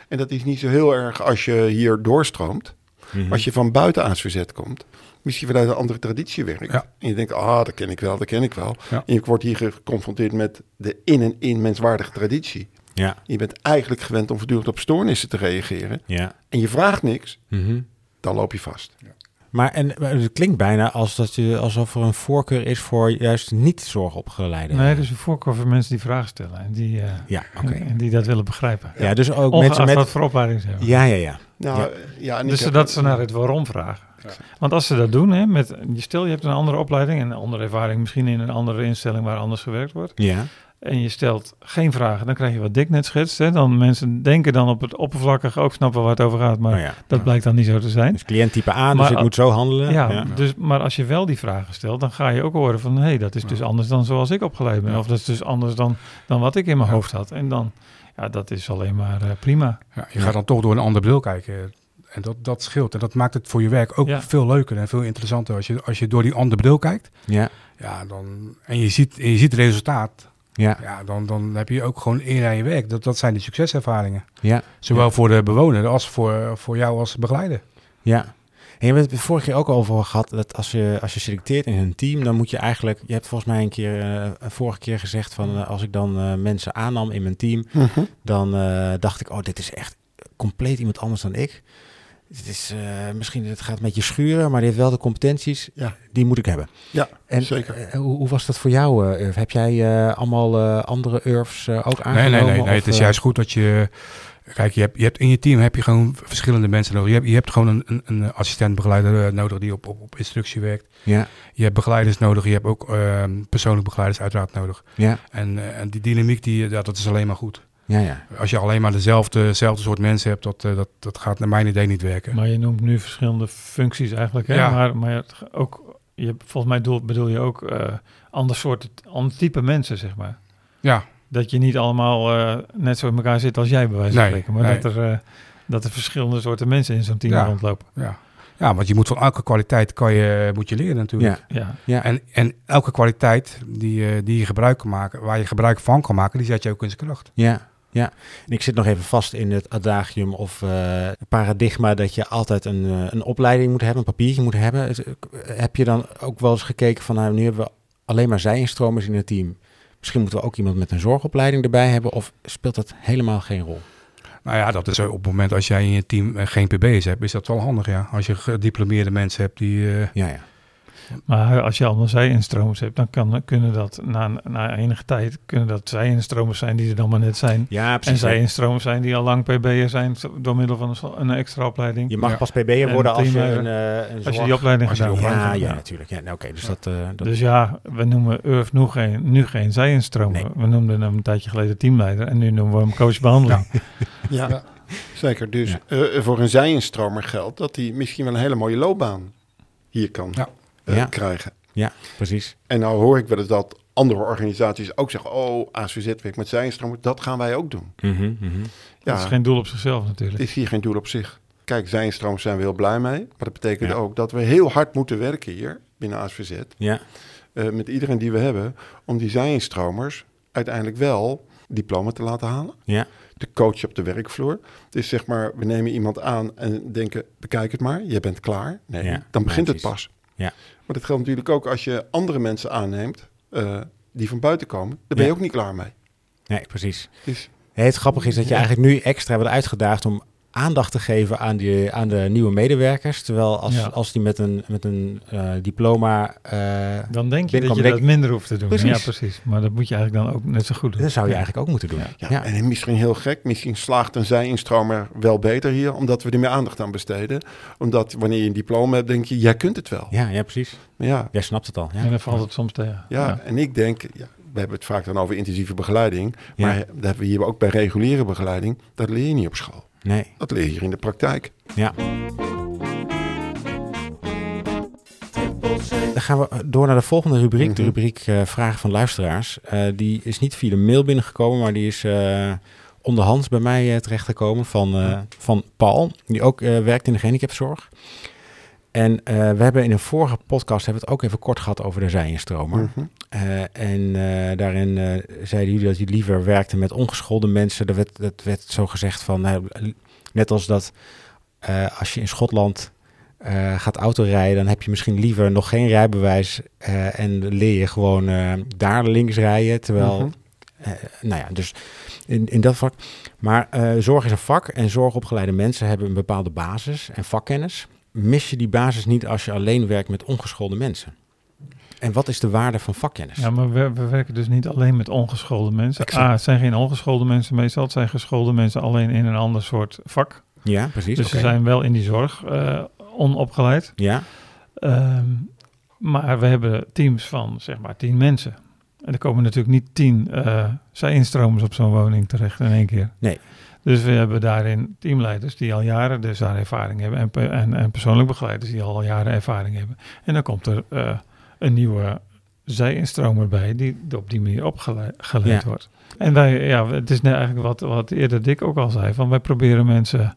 En dat is niet zo heel erg als je hier doorstroomt. Mhm. Als je van buiten aan verzet komt, misschien vanuit een andere traditie werkt. Ja. En je denkt, ah, dat ken ik wel, dat ken ik wel. Ja. En je wordt hier geconfronteerd met de in en in menswaardige traditie. Ja. Je bent eigenlijk gewend om voortdurend op stoornissen te reageren. Ja. En je vraagt niks, Mhm. dan loop je vast. Maar en, maar het klinkt bijna als dat je, alsof er een voorkeur is voor juist niet zorgopgeleide. Nee, dus een voorkeur voor mensen die vragen stellen. En die, eh, Ja, oké. en die dat willen begrijpen. Ja, dus ook Ongeacht mensen wat met... voor opleiding ze hebben. Ja, ja, ja. Nou, Ja. ja. en Dus ik heb- dat ze naar het waarom vragen. Want als ze dat doen, hè, met, stel je hebt een andere opleiding en een andere ervaring, misschien in een andere instelling waar anders gewerkt wordt. Ja, en je stelt geen vragen, dan krijg je wat Dick net schetst. Hè? Dan mensen denken dan op het oppervlakkige ook snappen waar het over gaat, maar nou ja. dat blijkt dan niet zo te zijn. Dus cliënt type A, dus Maar ik al- moet zo handelen. Ja, ja. Dus, maar als je wel die vragen stelt, dan ga je ook horen van... hé, hey, dat is dus anders dan zoals ik opgeleid ben. Ja. Of dat is dus anders dan, dan wat ik in mijn hoofd had. En dan, ja, dat is alleen maar eh, prima. Ja, je gaat dan toch door een ander bril kijken. En dat, dat scheelt. En dat maakt het voor je werk ook Ja. veel leuker en veel interessanter. Als je, als je door die andere bril kijkt ja. ja, dan, en je ziet, en je ziet het resultaat, ja. ja, dan, dan heb je ook gewoon eer aan je werk. Dat, dat zijn die succeservaringen. ja. Zowel voor de bewoner als voor, voor jou als begeleider. Ja. En je hebt het vorige keer ook al over gehad dat als je, als je selecteert in een team, dan moet je eigenlijk. Je hebt volgens mij een keer, eh, een vorige keer gezegd van eh, als ik dan eh, mensen aannam in mijn team, Mhm. dan eh, dacht ik, oh, dit is echt compleet iemand anders dan ik. Dit is eh, misschien, het gaat een beetje schuren, maar die heeft wel de competenties, Ja. die moet ik hebben. Ja, en, zeker. eh, hoe, hoe was dat voor jou, eh, Urf? Heb jij eh, allemaal eh, andere Urfs eh, ook Nee, aangenomen? nee, nee, nee. Of, Het is eh, juist goed dat je. Kijk, je hebt, je hebt in je team heb je gewoon verschillende mensen nodig. Je hebt, je hebt gewoon een, een, een assistent-begeleider eh, nodig die op, op, op instructie werkt. Ja, Je hebt begeleiders nodig. Je hebt ook eh, persoonlijk begeleiders uiteraard nodig. ja, En, eh, en die dynamiek, die, ja, dat is alleen maar goed. ja, ja. Als je alleen maar dezelfde, dezelfde soort mensen hebt, dat, eh, dat, dat gaat naar mijn idee niet werken. Maar je noemt nu verschillende functies eigenlijk. Hè? Ja. Maar, maar het ge- ook, je, volgens mij doel, bedoel je ook eh ander soort, ander type mensen, zeg maar. Ja, dat je niet allemaal eh, net zo in elkaar zit als jij bij wijze van Nee, spreken. Maar nee. dat, er, eh, dat er verschillende soorten mensen in zo'n team Ja. rondlopen. ja. Ja, want je moet van elke kwaliteit kan je, moet je leren natuurlijk. Ja, Ja, ja. En, en elke kwaliteit die, eh, die je gebruik kan maken, waar je gebruik van kan maken, die zet je ook in zijn kracht. Ja, ja. En ik zit nog even vast in het adagium of eh, paradigma dat je altijd een, eh, een opleiding moet hebben, een papiertje moet hebben. Is- Heb je dan ook wel eens gekeken van, nou, nu hebben we alleen maar zijinstromers in het team. Misschien moeten we ook iemand met een zorgopleiding erbij hebben, of speelt dat helemaal geen rol? Nou ja, dat is eh, op het moment als jij in je team eh, geen PB's hebt, is dat wel handig, ja. Als je gediplomeerde mensen hebt die... eh, Ja, ja. maar als je allemaal zij-instromers hebt, dan kan, kunnen dat na, na enige tijd kunnen dat zij-instromers zijn die er dan maar net zijn. Ja, En precies. zij-instromers zijn die al lang PB'er zijn zo- door middel van een so- een extra opleiding. je mag Ja. pas PB'er worden En als je primair- een, eh, een als je zorg- die opleiding als je gedaan die hebt. opleiding ja, hebt, ja, ja. natuurlijk. Ja, nou, oké, dus dat... eh, dat Dus ja, we noemen Urf nu geen, nu geen zij-instromer. Nee. We noemden hem een tijdje geleden teamleider en nu noemen we hem coachbehandeling. Ja, Ja. zeker. Dus eh, voor een zijinstromer geldt dat hij misschien wel een hele mooie loopbaan hier kan Ja. eh, Ja. krijgen. Ja, precies. En nou hoor ik wel eens dat andere organisaties ook zeggen... oh, ACZ werkt met zijinstromers, dat gaan wij ook doen. Mhm, mhm. Ja, Dat is geen doel op zichzelf natuurlijk. het is hier geen doel op zich. Kijk, zijinstromers zijn we heel blij mee. Maar dat betekent Ja. ook dat we heel hard moeten werken hier binnen ACZ... Ja, eh, met iedereen die we hebben... om die zijinstromers uiteindelijk wel diploma te laten halen. ja, de coach op de werkvloer. Dus zeg maar, we nemen iemand aan en denken, bekijk het maar, je bent klaar. Nee, Ja, dan begint het precies. pas. Ja. Maar dat geldt natuurlijk ook als je andere mensen aanneemt eh, die van buiten komen. Daar ben je Ja. ook niet klaar mee. nee, precies. Dus Nee, het grappige is dat je eigenlijk nu extra wordt uitgedaagd om aandacht te geven aan, die, aan de nieuwe medewerkers. Terwijl als, Ja. als die met een, met een eh, diploma, eh, Dan denk je dat Binnenkomen, je denk- dat minder hoeft te doen. Precies. Ja, precies. Maar dat moet je eigenlijk dan ook net zo goed doen. dat zou je eigenlijk ook moeten doen. ja, Ja, en misschien heel gek, misschien slaagt een zij-instromer wel beter hier, omdat we er meer aandacht aan besteden. Omdat wanneer je een diploma hebt, denk je, jij kunt het wel. ja, ja, precies. Maar ja, Jij snapt het al. Ja, En dan valt het soms tegen. Ja, en ik denk, ja, we hebben het vaak dan over intensieve begeleiding. Ja. Maar dat hebben we hier ook bij reguliere begeleiding. Dat leer je niet op school. Nee, Dat leer je hier in de praktijk. ja. Dan gaan we door naar de volgende rubriek. De Mhm. rubriek eh, Vragen van Luisteraars. Eh, die is niet via de mail binnengekomen, maar die is eh onderhands bij mij terecht terechtgekomen van, eh, van Paul, die ook eh, werkt in de gehandicaptenzorg. En eh, we hebben in een vorige podcast hebben we het ook even kort gehad over de zijenstromer. Mhm. Eh, en eh, daarin eh, zeiden jullie dat jullie liever werkten met ongeschoolde mensen. Dat werd, dat werd zo gezegd van, nou, net als dat eh, als je in Schotland eh, gaat autorijden, dan heb je misschien liever nog geen rijbewijs eh, en leer je gewoon eh, daar links rijden. Terwijl, Mhm. eh, nou ja, dus in, in dat vak. Maar eh, zorg is een vak en zorgopgeleide mensen hebben een bepaalde basis en vakkennis. Mis je die basis niet als je alleen werkt met ongeschoolde mensen? En wat is de waarde van vakkennis? Ja, maar we, we werken dus niet alleen met ongeschoolde mensen. Exact. A, het zijn geen ongeschoolde mensen meestal. Het zijn geschoolde mensen alleen in een ander soort vak. Ja, precies. Dus oké. ze zijn wel in die zorg eh, onopgeleid. Ja, Ehm, maar we hebben teams van zeg maar tien mensen. En er komen natuurlijk niet tien eh zij-instromers op zo'n woning terecht in één keer. Nee. Dus we hebben daarin teamleiders die al jaren dus daar ervaring hebben. En, pe- en, en persoonlijk begeleiders die al jaren ervaring hebben. En dan komt er eh, een nieuwe zij-instromer bij die op die manier opgeleid geleid Ja. wordt. En wij, ja, het is net eigenlijk wat, wat eerder Dick ook al zei. Van wij proberen mensen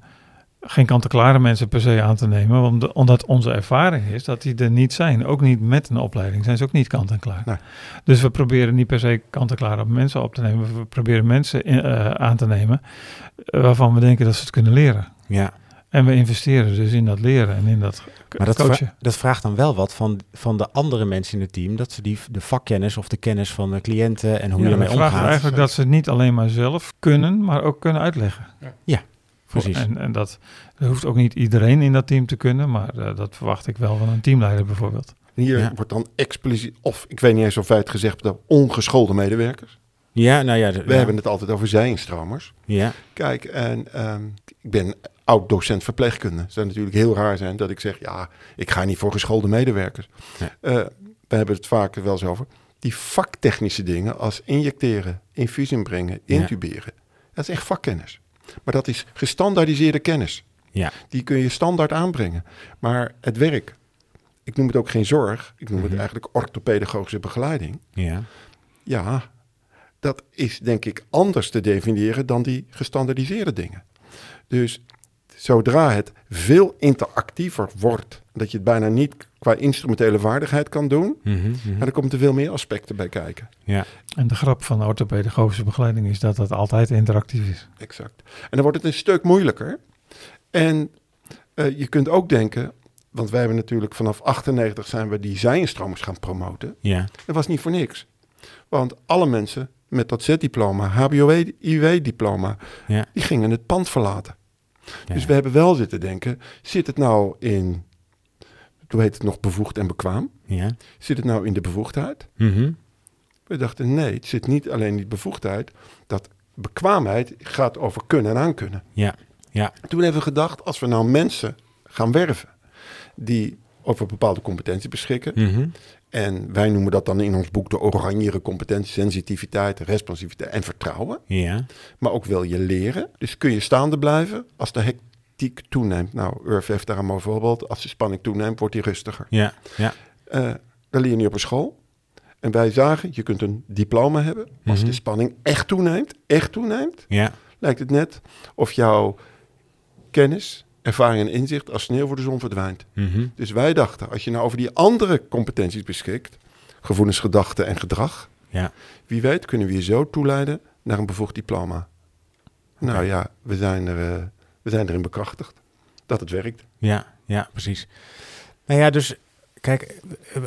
geen kant-en-klare mensen per se aan te nemen, omdat- omdat onze ervaring is dat die er niet zijn. Ook niet met een opleiding zijn ze ook niet kant-en-klaar. Nee. Dus we proberen niet per se kant-en-klaar op mensen op te nemen. We proberen mensen in- eh, aan te nemen eh, waarvan we denken dat ze het kunnen leren. ja. En we investeren dus in dat leren en in dat k- maar dat, coachen. vra- dat vraagt dan wel wat van, van de andere mensen in het team. Dat ze die, de vakkennis of de kennis van de cliënten en hoe je ja, dat ermee vraagt omgaat. eigenlijk dat ze het niet alleen maar zelf kunnen, maar ook kunnen uitleggen. Precies. En, en dat, dat hoeft ook niet iedereen in dat team te kunnen, maar eh, dat verwacht ik wel van een teamleider bijvoorbeeld. En Hier Ja. wordt dan expliciet, of ik weet niet eens of wij het gezegd hebben, ongeschoolde medewerkers. Ja, nou ja. d- We ja. hebben het altijd over zijinstromers. Ja, Kijk, en ehm, ik ben oud-docent verpleegkunde. Het zou natuurlijk heel raar zijn dat ik zeg, ja, ik ga niet voor geschoolde medewerkers. Nee. Eh, we hebben het vaak wel eens over. Die vaktechnische dingen als injecteren, infusie brengen, Ja. intuberen. Dat is echt vakkennis. Maar dat is gestandaardiseerde kennis. ja, Die kun je standaard aanbrengen. Maar het werk, ik noem het ook geen zorg, ik noem Mhm. het eigenlijk orthopedagogische begeleiding. ja. Ja, dat is denk ik anders te definiëren dan die gestandaardiseerde dingen. Dus zodra het veel interactiever wordt, dat je het bijna niet qua instrumentele vaardigheid kan doen, en dan komen er veel meer aspecten bij kijken. Mhm, Ja. En de grap van de orthopedagogische begeleiding is dat dat altijd interactief is. Exact. En dan wordt het een stuk moeilijker. En eh, je kunt ook denken, want wij hebben natuurlijk vanaf 98 zijn we designstromers gaan promoten. ja. Dat was niet voor niks. Want alle mensen met dat Z-diploma, HBO-IW-diploma, Ja. die gingen het pand verlaten. Ja. Dus we hebben wel zitten denken, zit het nou in, hoe heet het nog, bevoegd en bekwaam? Ja. Zit het nou in de bevoegdheid? Mhm. We dachten, nee, het zit niet alleen in die bevoegdheid. Dat bekwaamheid gaat over kunnen en aankunnen. Ja. Ja. Toen hebben we gedacht, als we nou mensen gaan werven die over bepaalde competentie beschikken, Mhm. en wij noemen dat dan in ons boek de oranjere competentie, sensitiviteit, responsiviteit en vertrouwen. Ja. Maar ook wil je leren. Dus kun je staande blijven als de hectiek toeneemt. Nou, Urf heeft daar een mooi voorbeeld. Als de spanning toeneemt, wordt hij rustiger. Ja. Ja. Eh dat leer je niet op een school. En wij zagen, je kunt een diploma hebben. Als de Mhm. spanning echt toeneemt, echt toeneemt, Ja. lijkt het net of jouw kennis, ervaring en inzicht als sneeuw voor de zon verdwijnt. Mhm. Dus wij dachten, als je nou over die andere competenties beschikt, gevoelens, gedachten en gedrag, Ja. wie weet kunnen we je zo toeleiden naar een bevoegd diploma. Nou ja, we zijn, er, eh, we zijn erin bekrachtigd dat het werkt. Ja, ja, precies. Nou ja, dus kijk, eh,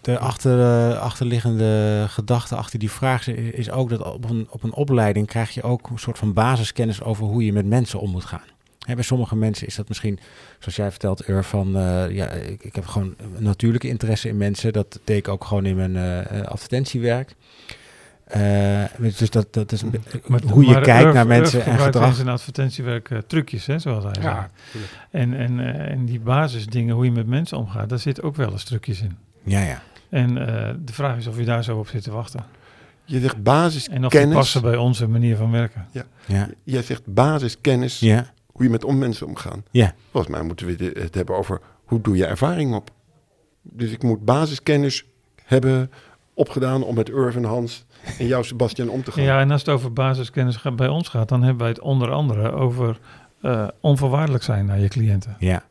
de achter, eh, achterliggende gedachte achter die vraag is, is ook dat op een, op een opleiding krijg je ook een soort van basiskennis over hoe je met mensen om moet gaan. Hè, bij sommige mensen is dat misschien, zoals jij vertelt, Ur, van eh, ja, ik, ik heb gewoon een natuurlijke interesse in mensen. Dat deed ik ook gewoon in mijn eh, eh, advertentiewerk. Eh, dus dat, dat is een be- Maar- hoe je maar kijkt Urf- naar Urf mensen en gebruikt in gedrag. zijn advertentiewerk eh, trucjes, hè, zoals hij Ja, zegt. En, en, eh, en die basisdingen, hoe je met mensen omgaat, daar zitten ook wel eens trucjes in. Ja, ja. En eh, de vraag is of je daar zo op zit te wachten. Je zegt En of die basiskennis. passen bij onze manier van werken. Ja, Jij zegt basiskennis, ja, hoe je met om mensen omgaan. ja. Volgens mij moeten we de- het hebben over hoe doe je ervaring op. Dus ik moet basiskennis hebben opgedaan om met Urban Hans en jou Sebastian om te gaan. Ja, en als het over basiskennis ga- bij ons gaat, dan hebben wij het onder andere over eh, onvoorwaardelijk zijn naar je cliënten. ja,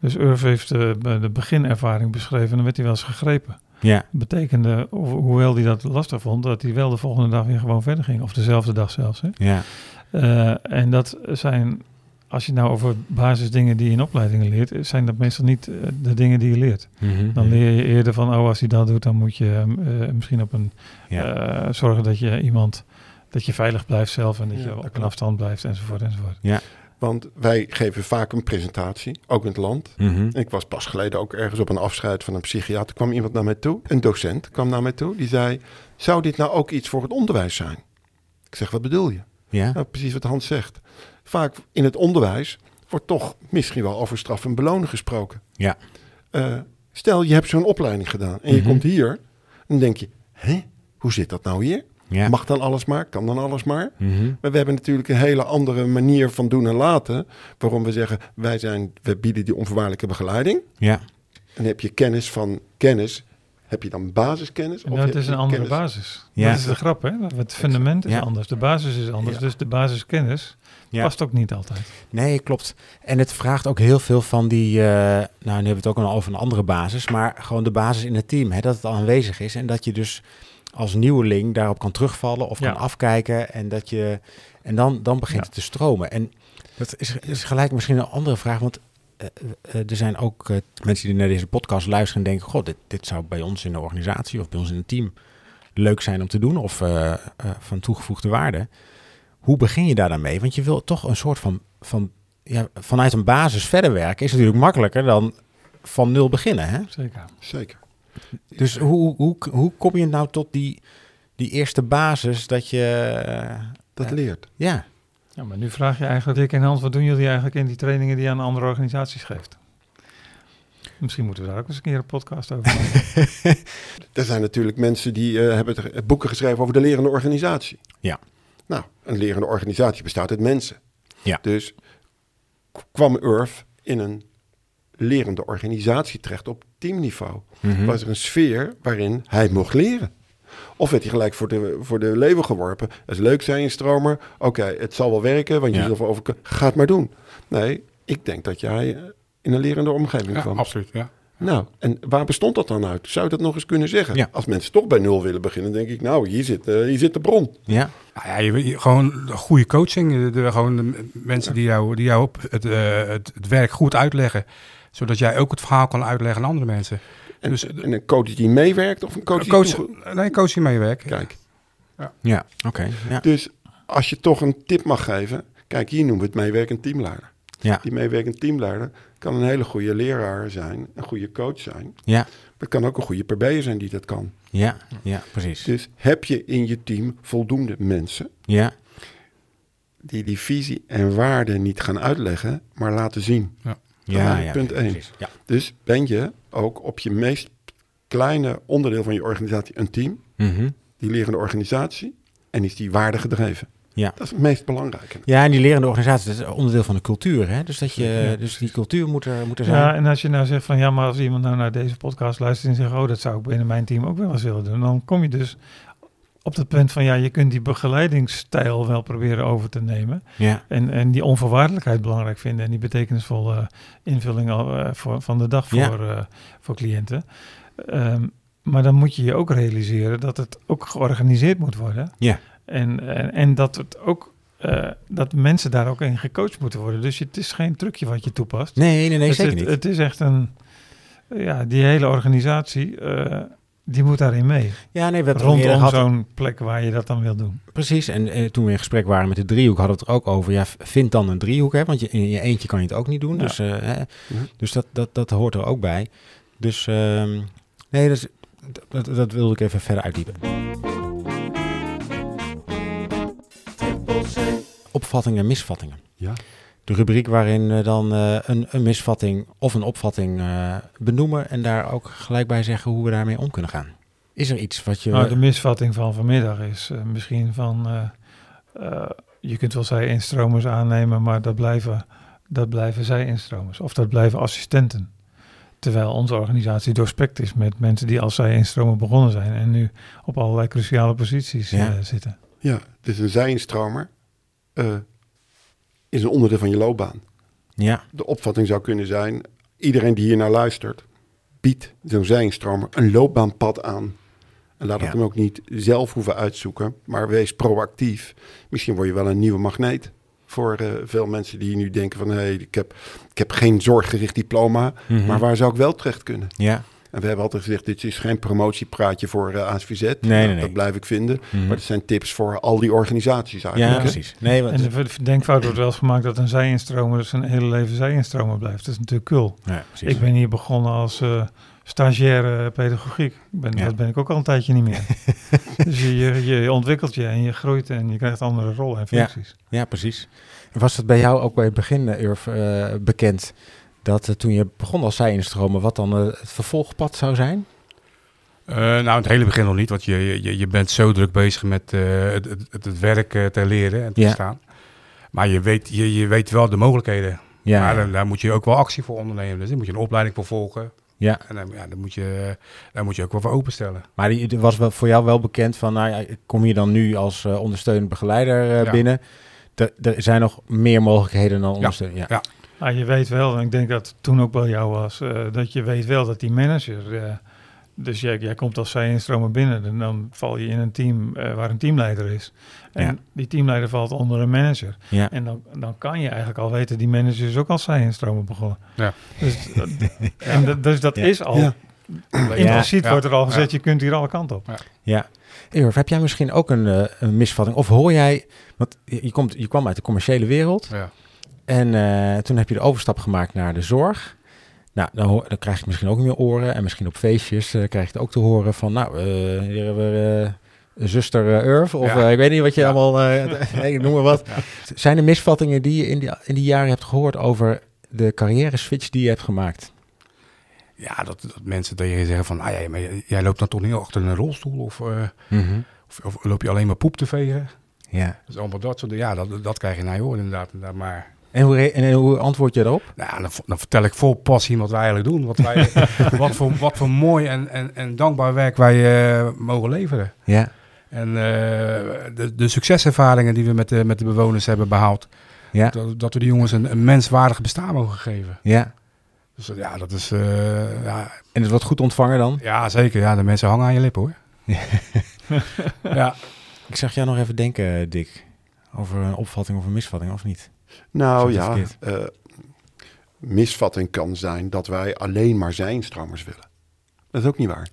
Dus Urf heeft de, de beginervaring beschreven en dan werd hij wel eens gegrepen. ja. betekende, ho- hoewel hij dat lastig vond, dat hij wel de volgende dag weer gewoon verder ging. Of dezelfde dag zelfs. Hè. ja. Eh, en dat zijn, als je het nou over basisdingen die je in opleidingen leert, eh, zijn dat meestal niet eh, de dingen die je leert. Mhm. Dan leer je eerder van, oh, als hij dat doet, dan moet je eh, misschien op een Ja. eh, zorgen dat je iemand, dat je veilig blijft zelf en dat Ja, je dat op een klopt. afstand blijft enzovoort enzovoort. Want wij geven vaak een presentatie, ook in het land. Mhm. Ik was pas geleden ook ergens op een afscheid van een psychiater. kwam iemand naar mij toe, een docent kwam naar mij toe. Die zei, zou dit nou ook iets voor het onderwijs zijn? Ik zeg, wat bedoel je? Ja. Nou, precies wat Hans zegt. Vaak in het onderwijs wordt toch misschien wel over straf en belonen gesproken. Ja. Eh, stel, je hebt zo'n opleiding gedaan en je Mhm. komt hier. Dan denk je, hè, hoe zit dat nou hier? Ja. Mag dan alles maar? Kan dan alles maar? Mhm. Maar we hebben natuurlijk een hele andere manier van doen en laten. Waarom we zeggen, wij, zijn, we bieden die onvoorwaardelijke begeleiding. Ja. En heb je kennis van kennis, heb je dan basiskennis? En of dat heb is je een andere kennis- basis. Ja. Dat is de grap, hè? Het fundament is Ja. anders, de basis is anders. Ja. Dus de basiskennis Ja. past ook niet altijd. Nee, klopt. En het vraagt ook heel veel van die. eh, nou, nu hebben we het ook al over een andere basis. Maar gewoon de basis in het team. Hè, dat het al aanwezig is. En dat je dus als nieuweling daarop kan terugvallen of Ja. kan afkijken. En, dat je, en dan, dan begint Ja. het te stromen. En dat is, is gelijk misschien een andere vraag. Want eh, eh, er zijn ook eh, mensen die naar deze podcast luisteren en denken: Goh, dit, dit zou bij ons in de organisatie of bij ons in het team leuk zijn om te doen. Of eh, eh, van toegevoegde waarde. Hoe begin je daar dan mee? Want je wil toch een soort van, van ja, vanuit een basis verder werken is natuurlijk makkelijker dan van nul beginnen. Hè? Zeker. Zeker. Dus hoe, hoe, hoe kom je nou tot die, die eerste basis dat je. eh, Dat Ja. leert. ja, Ja, maar nu vraag je eigenlijk, Dick en Hans, wat doen jullie eigenlijk in die trainingen die je aan andere organisaties geeft? Misschien moeten we daar ook eens een keer een podcast over maken. Er zijn natuurlijk mensen die eh, hebben er- eh, boeken geschreven over de lerende organisatie. Ja. Nou, een lerende organisatie bestaat uit mensen. Ja. Dus k- kwam Urf in een lerende organisatie terecht op teamniveau. Mhm. Was er een sfeer waarin hij mocht leren. Of werd hij gelijk voor de, voor de leeuw geworpen. Dat is leuk, zijn je stromer. Oké, het zal wel werken, want Ja. je zult wel over... Ga het maar doen. Nee, ik denk dat jij eh, in een lerende omgeving Ja, kwam. absoluut. Ja. Nou, en waar bestond dat dan uit? Zou je dat nog eens kunnen zeggen? Ja. Als mensen toch bij nul willen beginnen, denk ik, nou, hier zit, eh, hier zit de bron. Ja, Nou ja, je, weet- je- gewoon de goede coaching. De, de- gewoon de m- mensen die jou, die jou op het, eh, het, het werk goed uitleggen. Zodat jij ook het verhaal kan uitleggen aan andere mensen. En, Dus- eh, en een coach die meewerkt of een coach Coach, die... toege- nee, coach die meewerkt. Kijk, ja. oké. Ja. dus als je toch een tip mag geven... Kijk, hier noemen we het meewerkend teamleider. Ja. Die meewerkend teamleider kan een hele goede leraar zijn, een goede coach zijn. Ja. Maar kan ook een goede PB'er zijn die dat kan. ja, ja, precies. Dus heb je in je team voldoende mensen Ja, die die visie en waarden niet gaan uitleggen, maar laten zien? ja, Ja, ja. punt ja, één. precies. Ja. Dus ben je ook op je meest kleine onderdeel van je organisatie een team, Mhm. die lerende organisatie, en is die waarde gedreven. Ja. Dat is het meest belangrijke. Ja, en die lerende organisatie, dat is onderdeel van de cultuur. Hè? Dus, dat je, dus die cultuur moet er, moet er zijn. Ja, en als je nou zegt van ja, maar als iemand nou naar deze podcast luistert en zegt, oh, dat zou ik binnen mijn team ook wel eens willen doen, dan kom je dus op het punt van ja, je kunt die begeleidingsstijl wel proberen over te nemen ja. en, en die onvoorwaardelijkheid belangrijk vinden en die betekenisvolle eh, invulling al, eh, voor, van de dag voor, Ja. eh, voor cliënten. Ehm, maar dan moet je je ook realiseren dat het ook georganiseerd moet worden. Ja. En, en, en dat het ook eh, dat mensen daar ook in gecoacht moeten worden. Dus het is geen trucje wat je toepast Nee, nee, nee, het, zeker het- niet. het is echt een. Ja, die hele organisatie. eh, die moet daarin mee. ja, nee, we hebben het al eerder Rondom gehad. zo'n plek waar je dat dan wil doen. Precies, en eh, toen we in gesprek waren met de driehoek, hadden we het er ook over. Ja, v- vind dan een driehoek, hè, want je, in je eentje kan je het ook niet doen. Ja. Dus, eh, hè, Mhm. dus dat, dat, dat hoort er ook bij. Dus ehm, nee, dus, dat, dat wilde ik even verder uitdiepen. Opvattingen en misvattingen. Ja. De rubriek waarin we dan eh, een, een misvatting of een opvatting eh, benoemen en daar ook gelijk bij zeggen hoe we daarmee om kunnen gaan. Is er iets wat je. Nou, de misvatting van vanmiddag is eh, misschien van. eh, eh, je kunt wel zij instromers aannemen, maar dat blijven, dat blijven zij instromers. Of dat blijven assistenten. Terwijl onze organisatie doorspekt is met mensen die als zij instromer begonnen zijn en nu op allerlei cruciale posities Ja. eh, zitten. ja, dus een zijinstromer eh, is een onderdeel van je loopbaan. ja, De opvatting zou kunnen zijn, iedereen die hier naar luistert, biedt zo'n zijinstromer een loopbaanpad aan. En laat het Ja. hem ook niet zelf hoeven uitzoeken, maar wees proactief. Misschien word je wel een nieuwe magneet voor eh, veel mensen die nu denken van... hé, hey, ik, heb, ik heb geen zorggericht diploma, Mhm. maar waar zou ik wel terecht kunnen? ja. En we hebben altijd gezegd, dit is geen promotiepraatje voor eh, ASVZ. nee, nee. Dat blijf ik vinden. Mhm. Maar het zijn tips voor al die organisaties ja, eigenlijk. precies. Nee, want, En de ver- denkfout wordt wel eens gemaakt dat een zij-instromer zijn hele leven zij-instromer blijft. Dat is natuurlijk kul. ja, precies. Ik ben hier begonnen als eh stagiaire pedagogiek. Ik Ben, Ja. Dat ben ik ook al een tijdje niet meer. dus je, je, je ontwikkelt je en je groeit en je krijgt andere rollen en Ja. functies. Ja, precies. Was het bij jou ook bij het begin, eh, Urf, eh, bekend dat eh, toen je begon als zij-instromer, wat dan eh, het vervolgpad zou zijn? Eh, nou, in het hele begin nog niet, want je, je, je bent zo druk bezig met eh, het, het, het- het werk eh, te leren en te Ja. staan. Maar je weet, je, je weet wel de mogelijkheden. Ja, Maar dan, daar moet je ook wel actie voor ondernemen. Dus daar moet je een opleiding voor volgen. Ja. En dan, ja, dan moet je, daar moet je ook wel voor openstellen. maar die, die was wel voor jou wel bekend van, nou, ja, ik kom je dan nu als eh, ondersteunend begeleider eh, Ja. binnen? Er- Er zijn nog meer mogelijkheden dan ondersteunen. Ja. Maar je weet wel, en ik denk dat het toen ook bij jou was, eh, dat je weet wel dat die manager... eh, dus jij, jij komt als zij-instromer binnen en dan val je in een team eh, waar een teamleider is. En Ja. die teamleider valt onder een manager. Ja. En dan, dan kan je eigenlijk al weten, die manager is ook al zijn stromen begonnen. Ja. Dus, dat- en dat- dus dat Ja. is al, Ja. in Ja. principe Ja. wordt er al gezegd, je kunt hier alle kanten op. Ja. Urf, heb jij misschien ook een, eh, een misvatting? Of hoor jij, want je, je komt, je kwam uit de commerciële wereld Ja. en eh, toen heb je de overstap gemaakt naar de zorg. Nou, dan, hoor- dan krijg je misschien ook meer oren en misschien op feestjes eh, krijg je het ook te horen van, nou, eh, hier hebben we eh, zuster eh, Urf of Ja. eh, ik weet niet wat je Ja. allemaal, eh, nee, noem maar wat. Zijn er misvattingen die je in die, in die jaren hebt gehoord over de carrière switch die je hebt gemaakt? Ja, dat, dat mensen tegen zeggen van, ah ja, maar jij, jij loopt dan toch niet achter een rolstoel of, eh, Mhm. of, of loop je alleen maar poep te vegen? Ja. Dus allemaal dat soort dingen. Ja, dat, dat krijg je naar je horen inderdaad. inderdaad. Maar En hoe, re- en hoe antwoord je daarop? Nou, ja, dan, v- dan vertel ik vol passie wat wij eigenlijk doen. Wat, wij, wat, voor, wat voor mooi en, en, en dankbaar werk wij eh, mogen leveren. Ja. En eh, de, de succeservaringen die we met de, met de bewoners hebben behaald. Ja. Dat, dat we die jongens een, een menswaardig bestaan mogen geven. Ja. Dus eh, ja, dat is... eh, ja, En het wordt goed ontvangen dan? ja, zeker. Ja, de mensen hangen aan je lippen hoor. ja. Ik zag jou nog even denken, Dick. Over een opvatting of een misvatting, of niet? Nou Zat ja, het eh, misvatting kan zijn dat wij alleen maar zijn strammers willen. Dat is ook niet waar.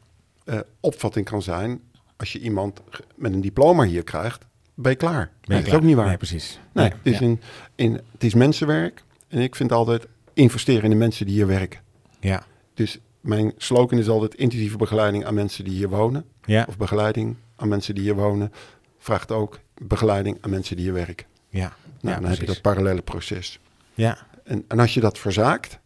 Eh, opvatting kan zijn, als je iemand ge- met een diploma hier krijgt, ben je klaar. Ben je dat is klaar? ook niet waar. Nee, precies. Nee, Ja. het, is Ja. een, in, het is mensenwerk. En ik vind altijd investeren in de mensen die hier werken. Ja. Dus mijn slogan is altijd intensieve begeleiding aan mensen die hier wonen. Ja. Of begeleiding aan mensen die hier wonen. Vraagt ook begeleiding aan mensen die hier werken. Ja. Nou, Ja, dan heb je precies. dat parallele proces. Ja. En, en als je dat verzaakt,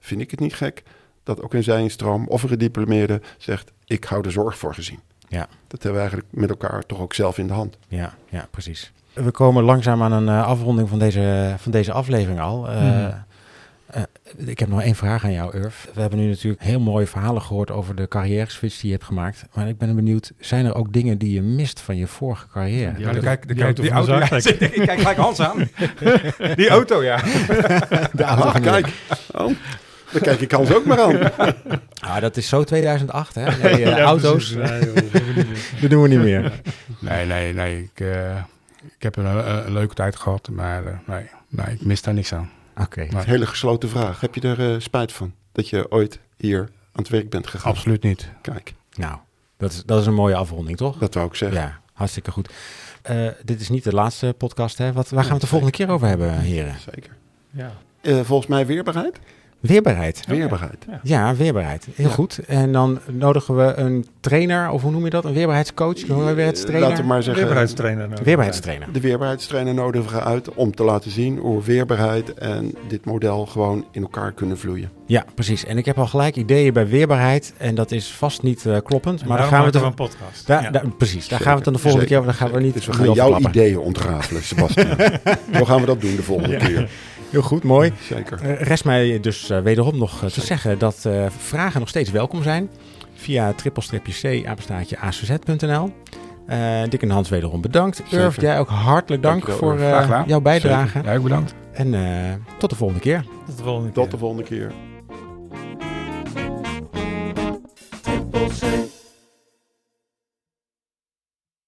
vind ik het niet gek dat ook een zijnstroom of een gediplomeerde zegt: Ik hou de zorg voor gezien. Ja. Dat hebben we eigenlijk met elkaar toch ook zelf in de hand. Ja, ja, precies. We komen langzaam aan een eh, afronding van deze, van deze aflevering al. Eh, Mhm. eh, ik heb nog één vraag aan jou, Urf. We hebben nu natuurlijk heel mooie verhalen gehoord over de carrière switch die je hebt gemaakt. Maar ik ben benieuwd, zijn er ook dingen die je mist van je vorige carrière? Ja. Ja, dan kijk, die dan kijk auto die van de auto. ja, zaak. ik kijk gelijk Hans aan. Die auto, ja. Ah, kijk, oh, dan kijk ik Hans ook maar aan. Ah, dat is zo 2008, hè? Nee, eh, Ja, auto's, precies. Nee, joh, dat doen we niet meer. dat doen we niet meer. Nee, nee, nee. Ik, eh, ik heb een, eh, een- een leuke tijd gehad, maar eh, nee, nee, ik mis daar niks aan. Oké. Hele gesloten vraag. Heb je er eh, spijt van dat je ooit hier aan het werk bent gegaan? Absoluut niet. Kijk, Nou, dat is, dat is een mooie afronding, toch? dat wou ik zeggen. Ja, hartstikke goed. Eh, dit is niet de laatste podcast, hè? Wat, waar gaan we het de volgende keer over hebben, heren? Zeker. Ja. Eh, volgens mij weerbaarheid? Weerbaarheid. Weerbaarheid. Ja, weerbaarheid. Heel goed. En dan nodigen we een trainer, of hoe noem je dat? Een weerbaarheidscoach, een weerbaarheidstrainer? Laten we Eh, maar zeggen, Weerbaarheidstrainer. nodig. Weerbaarheidstrainer. de weerbaarheidstrainer nodigen we uit om te laten zien hoe weerbaarheid en dit model gewoon in elkaar kunnen vloeien. Ja, precies. En ik heb al gelijk ideeën bij weerbaarheid. En dat is vast niet eh, kloppend. En Maar daar daarom gaan we het... Nou, maken er- een podcast. Daar, Ja. daar- precies, daar gaan we het dan de volgende Zeker. keer over. Daar gaan we niet Dus we nu gaan over jouw klappen. ideeën ontrafelen, Sebastian. Zo gaan we dat doen de volgende keer. Heel goed, mooi. Zeker. Eh, rest mij dus eh, wederom nog eh, te zeggen dat eh, vragen nog steeds welkom zijn. Via trippelstripje c apenstaartje acz.nl. Eh Dick en Hans wederom bedankt. Zeker. Urf, jij ook hartelijk dank Dankjewel, voor Urf. eh, Graag gedaan. jouw bijdrage. Ja, ook bedankt. En eh, tot de volgende keer. Tot de volgende keer. Tot de volgende keer.